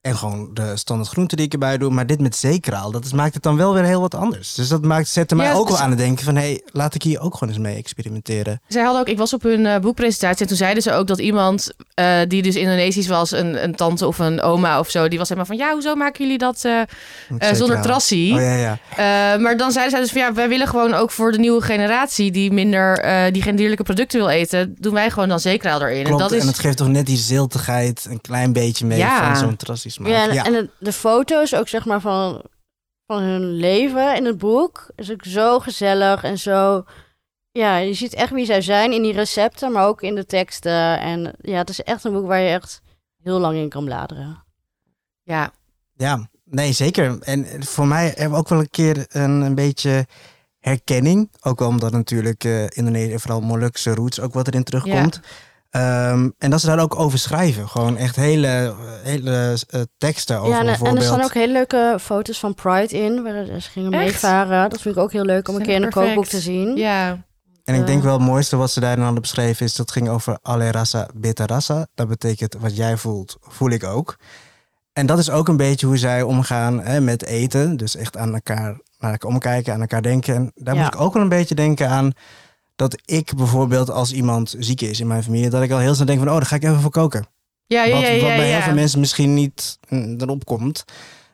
Speaker 3: En gewoon de standaard groenten die ik erbij doe. Maar dit met zeekraal, dat is, maakt het dan wel weer heel wat anders. Dus dat maakt, zette mij
Speaker 1: Ja,
Speaker 3: ook wel
Speaker 1: ze-
Speaker 3: aan het denken van... hé, hey, laat ik hier ook gewoon eens mee experimenteren.
Speaker 1: Zij hadden ook, ik was op hun eh, boekpresentatie en toen zeiden ze ook dat iemand eh, die dus Indonesisch was, een, een tante of een oma of zo, die was helemaal van ja, hoezo maken jullie dat eh, eh,
Speaker 3: Met zeekraal.
Speaker 1: zonder trassie?
Speaker 3: Oh ja, ja.
Speaker 1: Eh, maar dan zeiden zij dus van ja, wij willen gewoon ook voor de nieuwe generatie die minder, eh, die geen dierlijke producten wil eten, doen wij gewoon dan zeekraal erin.
Speaker 3: Klopt,
Speaker 1: en dat is,
Speaker 3: het geeft toch net die ziltigheid een klein beetje mee
Speaker 1: Ja.
Speaker 3: van zo'n trassie smaak.
Speaker 2: ja, en,
Speaker 3: Ja,
Speaker 2: en de, de foto's ook, zeg maar, van, van hun leven in het boek is ook zo gezellig en zo. Ja, je ziet echt wie zij zijn in die recepten, maar ook in de teksten. En ja, het is echt een boek waar je echt heel lang in kan bladeren.
Speaker 1: ja,
Speaker 3: ja, nee, zeker. En eh, voor mij hebben we ook wel een keer een, een beetje herkenning. Ook wel omdat natuurlijk eh Indonesië, en vooral Molukse roots, ook wat erin terugkomt. Ehm, en dat ze daar ook over schrijven. Gewoon echt hele, hele eh, teksten over
Speaker 2: Ja, en, en er
Speaker 3: bijvoorbeeld.
Speaker 2: staan ook hele leuke foto's van Pride in, waar ze gingen
Speaker 1: Echt?
Speaker 2: meevaren. Dat vind ik ook heel leuk om een
Speaker 1: Zijn
Speaker 2: keer in een
Speaker 1: perfect.
Speaker 2: kookboek te zien.
Speaker 1: Ja,
Speaker 3: En ik denk
Speaker 2: eh,
Speaker 3: wel het mooiste wat ze daarin hadden beschreven is dat ging over alle rasa, beta rasa. Dat betekent wat jij voelt, voel ik ook. En dat is ook een beetje hoe zij omgaan hè, met eten. Dus echt aan elkaar, naar elkaar omkijken, aan elkaar denken. En daar
Speaker 2: Ja.
Speaker 3: moet ik ook wel een beetje denken aan dat ik bijvoorbeeld als iemand ziek is in mijn familie, dat ik al heel snel denk van, oh, daar ga ik even voor koken.
Speaker 1: ja, ja,
Speaker 3: Wat,
Speaker 1: ja.
Speaker 3: wat
Speaker 1: ja,
Speaker 3: bij heel
Speaker 1: ja.
Speaker 3: veel mensen misschien niet mm, erop komt.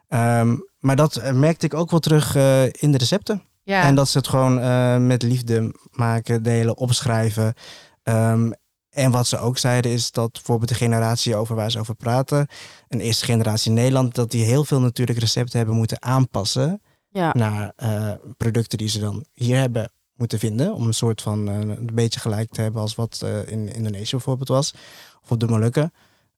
Speaker 3: Ehm, maar dat eh, merkte ik ook wel terug eh, in de recepten.
Speaker 1: Ja.
Speaker 3: En dat ze het gewoon eh, met liefde maken, delen, opschrijven. Ehm, en wat ze ook zeiden is dat bijvoorbeeld de generatie over waar ze over praten, een eerste generatie in Nederland, dat die heel veel natuurlijk recepten hebben moeten aanpassen
Speaker 2: Ja.
Speaker 3: naar eh, producten die ze dan hier hebben moeten vinden. Om een soort van eh, een beetje gelijk te hebben als wat eh, in Indonesië bijvoorbeeld was. Of op de Molukken.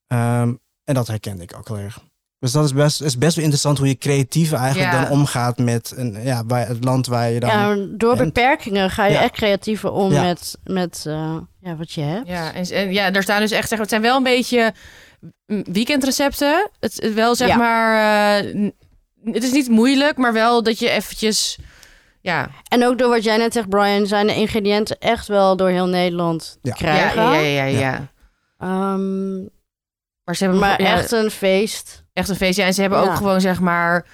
Speaker 3: Ehm, en dat herkende ik ook heel erg. Dus dat is best, is best wel interessant hoe je creatief eigenlijk
Speaker 1: Ja.
Speaker 3: dan omgaat met een, ja, waar, het land waar je dan...
Speaker 2: Ja, door
Speaker 3: En-
Speaker 2: beperkingen ga je
Speaker 3: Ja.
Speaker 2: echt creatiever om
Speaker 3: Ja.
Speaker 2: met, met eh, ja, wat je hebt.
Speaker 1: Ja, en, en ja, daar staan dus echt, zeg, maar, het zijn wel een beetje mm, weekendrecepten. Het het wel zeg
Speaker 2: Ja.
Speaker 1: maar, eh, n- het is niet moeilijk, maar wel dat je eventjes, ja,
Speaker 2: En ook door wat jij net zegt, Brian, zijn de ingrediënten echt wel door heel Nederland
Speaker 3: Ja.
Speaker 2: te krijgen.
Speaker 1: Ja, ja, ja, ja,
Speaker 3: Ja.
Speaker 1: ja.
Speaker 2: Ehm,
Speaker 1: Maar ze hebben
Speaker 2: maar
Speaker 1: ja,
Speaker 2: echt een feest.
Speaker 1: echt een feestje en ze hebben
Speaker 2: Ja.
Speaker 1: ook gewoon zeg maar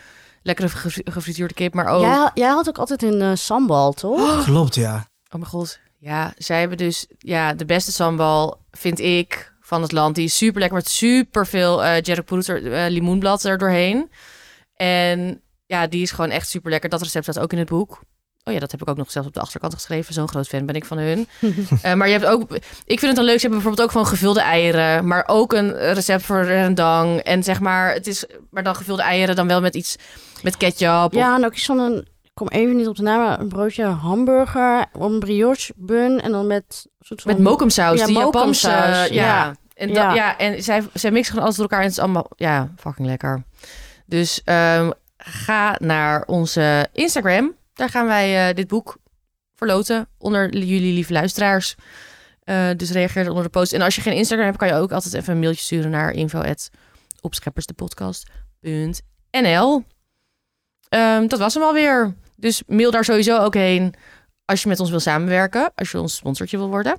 Speaker 1: lekkere gefri- gefrituurde kip, maar ook,
Speaker 2: Jij, jij had ook altijd een eh, sambal, toch?
Speaker 3: Klopt, ja.
Speaker 1: oh mijn god, ja, zij hebben dus ja de beste sambal vind ik van het land. Die is super lekker met super veel eh jerukpurut, eh, limoenblad er doorheen. En ja, die is gewoon echt super lekker. Dat recept staat ook in het boek. Oh ja, dat heb ik ook nog zelfs op de achterkant geschreven. Zo'n groot fan ben ik van hun. Eh, maar je hebt ook, ik vind het dan leuk. Ze hebben bijvoorbeeld ook gewoon gevulde eieren, maar ook een recept voor rendang. En zeg maar, het is maar dan gevulde eieren, dan wel met iets met ketchup. of-
Speaker 2: ja, en ook iets van een, ik kom even niet op de naam, maar een broodje hamburger, een brioche bun en dan met... een Soort van,
Speaker 1: met mokumsaus,
Speaker 2: Ja,
Speaker 1: die Japanse.
Speaker 2: mokumsaus,
Speaker 1: ja.
Speaker 2: ja.
Speaker 1: En, dat,
Speaker 2: Ja.
Speaker 1: ja. en zij, zij mixen gewoon alles door elkaar en het is allemaal ja, fucking lekker. Dus ehm, ga naar onze Instagram. Daar gaan wij eh, dit boek verloten onder jullie lieve luisteraars. Eh, dus reageer onder de post. En als je geen Instagram hebt, kan je ook altijd even een mailtje sturen naar info@opscheppersdepodcast.nl. Ehm dat was hem alweer. Dus mail daar sowieso ook heen als je met ons wil samenwerken, als je ons sponsortje wil worden.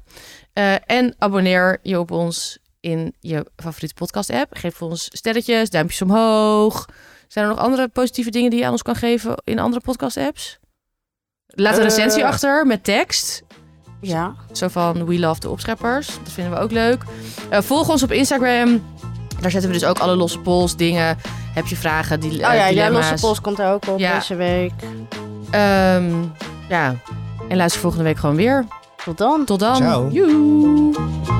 Speaker 1: Eh, en abonneer je op ons in je favoriete podcast-app. Geef ons sterretjes, duimpjes omhoog. Zijn er nog andere positieve dingen die je aan ons kan geven in andere podcast-apps? Laat een
Speaker 3: Eh.
Speaker 1: recensie achter met tekst.
Speaker 2: Ja,
Speaker 1: Zo van We Love de Opscheppers. Dat vinden we ook leuk. Eh, volg ons op Instagram. Daar zetten we dus ook alle losse polls, dingen. Heb je vragen? Die, eh,
Speaker 2: oh ja, jij losse post komt daar ook op
Speaker 1: Ja.
Speaker 2: deze week.
Speaker 1: ja. En Ehm, luister volgende week gewoon weer.
Speaker 2: Tot dan.
Speaker 1: Tot dan.
Speaker 3: Ciao.
Speaker 1: Joe.